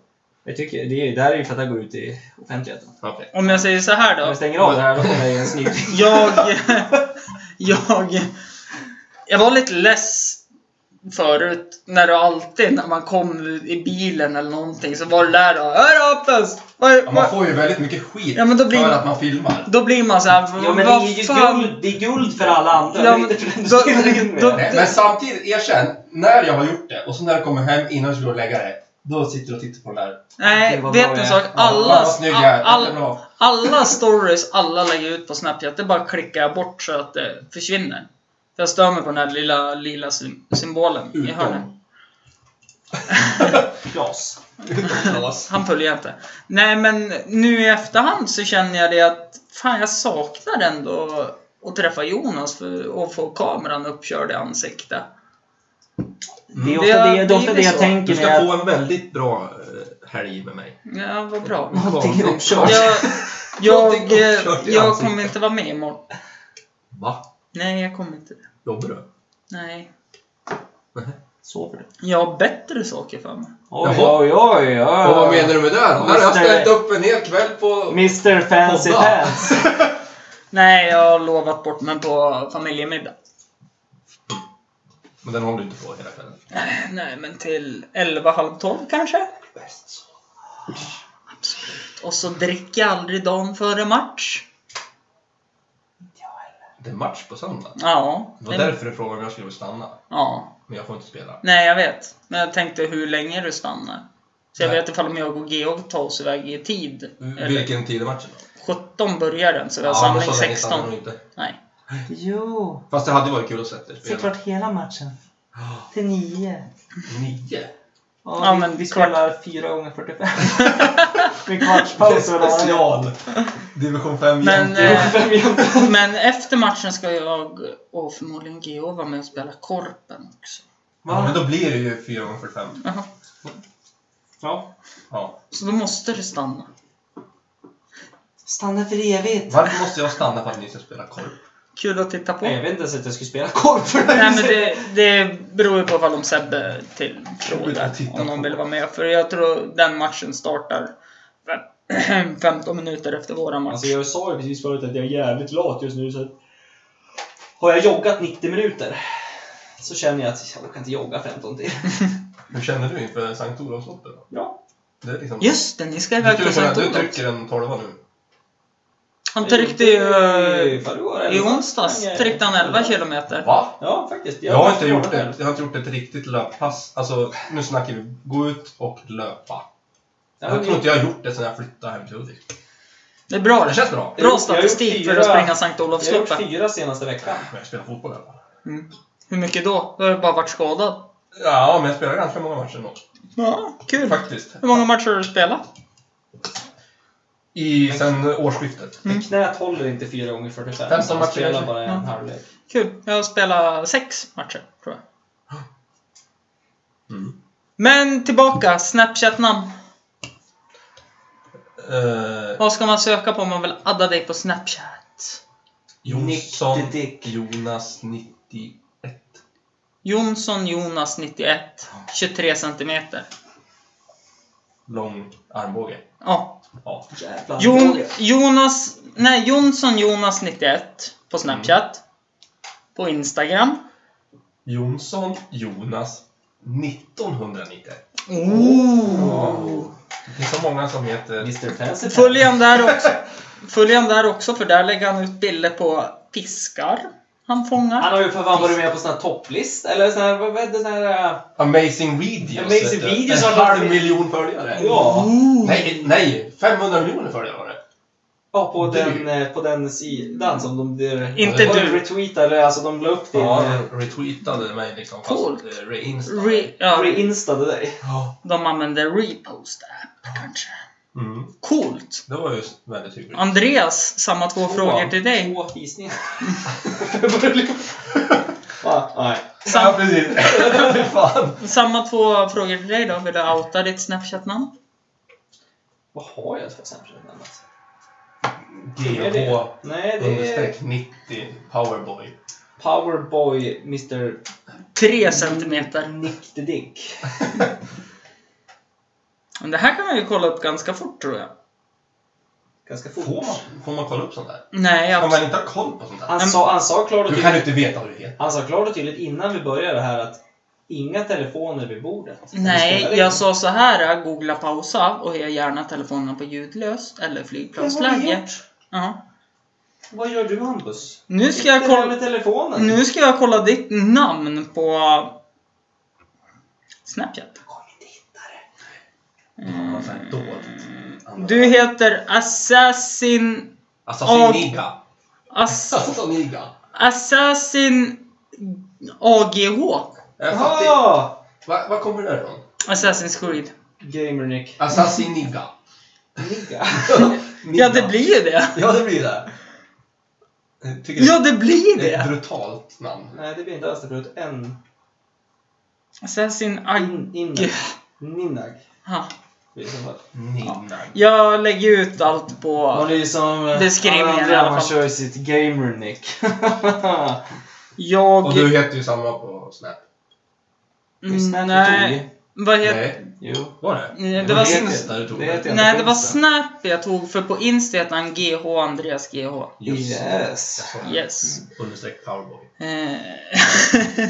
Jag tycker det, är, det här är ju för att han går ut i offentligheten. Okej. Om jag säger så här Om då. jag stänger av det här då kommer jag en snygg. Jag... Jag... Jag var lite less förut. När du alltid, när man kom i bilen eller någonting, så var det där då. Hör Hampus! Vad- Ja, vad- Man får ju väldigt mycket skit Ja, men då blir för man- att man filmar. Då blir man så här. Ja men det är ju guld, det är guld för alla andra. Ja, det är men inte för den då- som spelar in med. då- det. Nej, men samtidigt, erkänn. När jag har gjort det och så när jag kommer hem innan jag ska gå och lägga dig. Då sitter du och tittar på den där. Nej, Det var vet bra du en jag. sak? Ja, Alla, vad snygg jag är. all, Det är all, bra. alla stories alla lägger ut på Snapchat, det bara klickar jag bort så att det försvinner. För jag stör mig på den här lilla lila sym- symbolen i Utom. hörnet. Klas. Utomklas. Han följer jag inte. Nej, men nu i efterhand så känner jag det att fan, jag saknar ändå att träffa Jonas för, och få kameran uppkörd i ansiktet. Det är Mm. Det liksom- ofta har det, det, är ofta blivit det jag så. tänker Du när ska jag... få en väldigt bra eh, helg med mig. Ja, vad bra. Någonting är uppkört. Jag, jag, eh, Någonting uppkört jag, i jag ansiktet. kommer inte vara med imorgon. Va? Nej, jag kommer inte det. Jobbar du? Nej. Sover du? Jag har bättre saker för mig. Oj, Jaha. oj, oj, oj. Och vad menar du med det? Här har jag Mister- ställt upp en hel kväll på... Mr Fancy Podda. Pants. Nej, jag har lovat bort mig på familjemiddag. Men den håller du inte på hela kvällen. Nej, men till 11, halv 12 kanske? Och så dricker jag aldrig dagen före match. Det är match på söndag. Ja. Det var därför du frågade om jag skulle stanna. Ja. Men jag får inte spela. Nej, jag vet. Men jag tänkte hur länge du stannar. Så jag Nej. Mm, vet ifall om jag och Georg tar oss iväg i tid. Eller Vilken tid är matchen då? 17 börjar den, så vi har men Mm. samling så länge stannar 16. nog inte. Nej. Jo. Fast det hade varit kul att se det Se spela. Ah, klart hela matchen. Till nio. Nio? Ja, vi, men vi kvart- spelar 4 gånger 45. Med kvartspaus varje gång. Division 5 Men, jämte. eh, Vem jämför? men efter matchen ska jag och förmodligen Georg vara med och spela Korpen också. Ja, men då blir det ju 4 gånger 45. Jaha. Ja. Ja. Så då måste du stanna. Stanna för evigt. Varför måste jag stanna för att ni ska spela korp? Kul att titta på. Nej, Jag vet inte ens att jag skulle spela korv för dig. Nej men det, det beror ju på vad om Sebbe till Jag frågar vill titta om någon på. vill vara med. För jag tror den matchen startar fem- 15 minuter efter våra match. Alltså jag sa ju precis förut att jag är jävligt lat just nu så att Har jag joggat 90 minuter så känner jag att jag orkar inte jogga 15 till. Hur känner du inför Sankt Olofsloppet då? Ja. Det är liksom... Just det, ni ska Du, iväg på trycker- Sankt du Olof. trycker en tolva nu. Han tryckte ju... I eh, förrgår, eller I så. onsdags Nej, tryckte han 11 kilometer. Va? Ja, faktiskt. Jag har inte gjort det. Jag har inte gjort ett riktigt löppass. Alltså, nu snackar vi. Gå ut och löpa. Ja, men Jag tror inte jag har gjort det sedan jag flyttade hem till Hudik. Det är bra Det det. känns bra. Jag har Bra gjort statistik för fyra- att springa Sankt Mm. Jag har gjort Olofsloppet. fyra senaste veckan. Men jag spelar fotboll i alla fall. Mm. Hur mycket då? Du har ju bara varit skadad. Ja, men jag spelar ganska många matcher ändå. Ja, kul. Faktiskt. Hur många matcher har du spelat? I, sen årsskiftet. Mm. Knät håller inte 4 gånger 45 Femton matcher spelar kanske. bara en Ja. halvlek. Kul. Jag har spelat sex matcher, tror jag. Mm. Men tillbaka, Snapchat-namn. Eh, Vad ska man söka på om man vill adda dig på Snapchat? Jonsson Nick the Dick. Jonas 91. Jonsson Jonas 91. 23 centimeter. Lång armbåge. Ja. Ja. Jävlar. Jon, Jonas... Nej, Jonsson Jonas 91 på Snapchat. På Instagram. Jonsson Jonas 1991. Oh. Det är så många som heter... Mr Fancy Följ han där också. Följ han där också för där lägger han ut bilder på fiskar han fångar. Han har ju för fan varit med på sån här topplist, eller sån här, vad vad hette sån här... äh, Amazing videos. Amazing heter det. videos en har- halv miljon följare. Ja, Nej, nej, 500 miljoner följare var det. ja på, Du. den, eh, på den sidan som de... de- Inte de du. retweetade, alltså de la upp din... Ja, Ja. han retweetade mig liksom. Coolt. Fast eh, reinsta. Re, ja, Reinstade dig. Ja. de använder repost app kanske. Mm. Coolt! Det var ju väldigt hyggligt. Andreas, samma två frågor till dig. Två hisningar. Jag började lyssna. Va? Nej. Sam, precis. Fan. samma två frågor till dig då. Vill du outa ditt Snapchat-namn? Vad har jag för Snapchat annat? Är GH det- Nej, det är understreck 90 powerboy. Powerboy Mr. Tre centimeter. Niktedink. Men det här kan man ju kolla upp ganska fort tror jag. Ganska Får fort. man, får man kolla upp sånt där? Nej, Kan absolut. man inte ha koll på sånt där? Han sa, han sa klart och Du kan ju tydligt, inte veta vad du heter. han sa klart och tydligt innan vi började här att inga telefoner vid bordet. Vi spelar Nej, in. jag sa så här. äh, Googla pausa och ha gärna telefonen på ljudlöst eller flygplansläge. Ja. Vad gör du Hampus? Nu ska jag Sitter här kolla- med telefonen. Nu ska jag kolla ditt namn på Snapchat. Kom inte hitta det. Mm. Så här dolt. Du heter Assassin... Assassiniga. Ass, Assassiniga. Assassin AGH. Jag fattar. Jaha! Ah! Va- Var kommer det där ifrån? Assassin's Creed. Gamer-Nick. Assassiniga. Nigga. Ja, det blir ju det. Ja, det blir det. Jag Tycker Ja, det blir det är ett det. brutalt namn. Nej, det blir inte alls det. Förut. En. Assassin In, AG... inag. Ninag. Ha. Det är i så fall. Ninna. Jag lägger ut allt på... Man är ju som eh, Beskrivningen alla andra, i alla Man fall. kör ju sitt Gamer-Nick. Jag... Och du heter ju samma på Snap. Mm, Nej. Vad heter... Nej, Jo. var det? Nej, det Vad var heter sin- det där du tog det det? heter Nej, det var Insta. Snap jag tog, för på Insta heter han GH Andreas GH. Just det. Yes. Jag sa det. Yes. Understreck powerboy. Eh,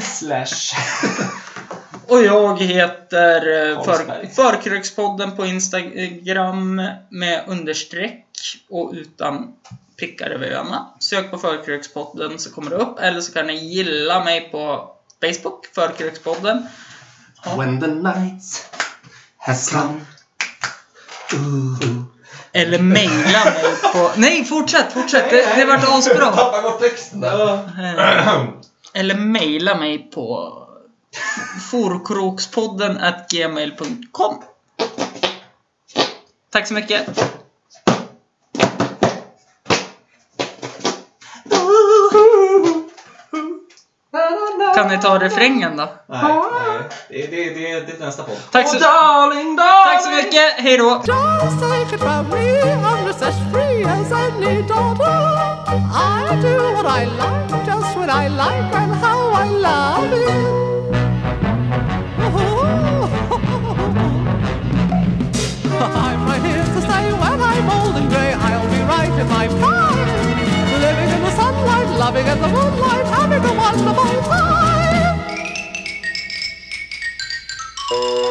Slash. Och jag heter eh, för, Karlsberg. Förkrökspodden på Instagram med understreck och utan prickar över öarna. Sök på Förkrökspodden så kommer det upp. Eller så kan ni gilla mig på Facebook, Förkrökspodden. Ja. When the nights has come. Eller mejla mig på... Nej, fortsätt, fortsätt! Det, det vart asbra! Tappade bort texten där. Eh, Eller mejla mig på forkrokspodden at gmail.com Tack så mycket! Kan ni ta refrängen då? Nej, nej. Det, det, det, det är nästa podd. Tack så, tack så mycket, hejdå! Just take it from me, I'm just as free as any daughter. I do what I like, just when I like, and how I love it. I'm right here to stay when I'm old and grey. I'll be right in my prime, living in the sunlight, loving in the moonlight, having a wonderful time.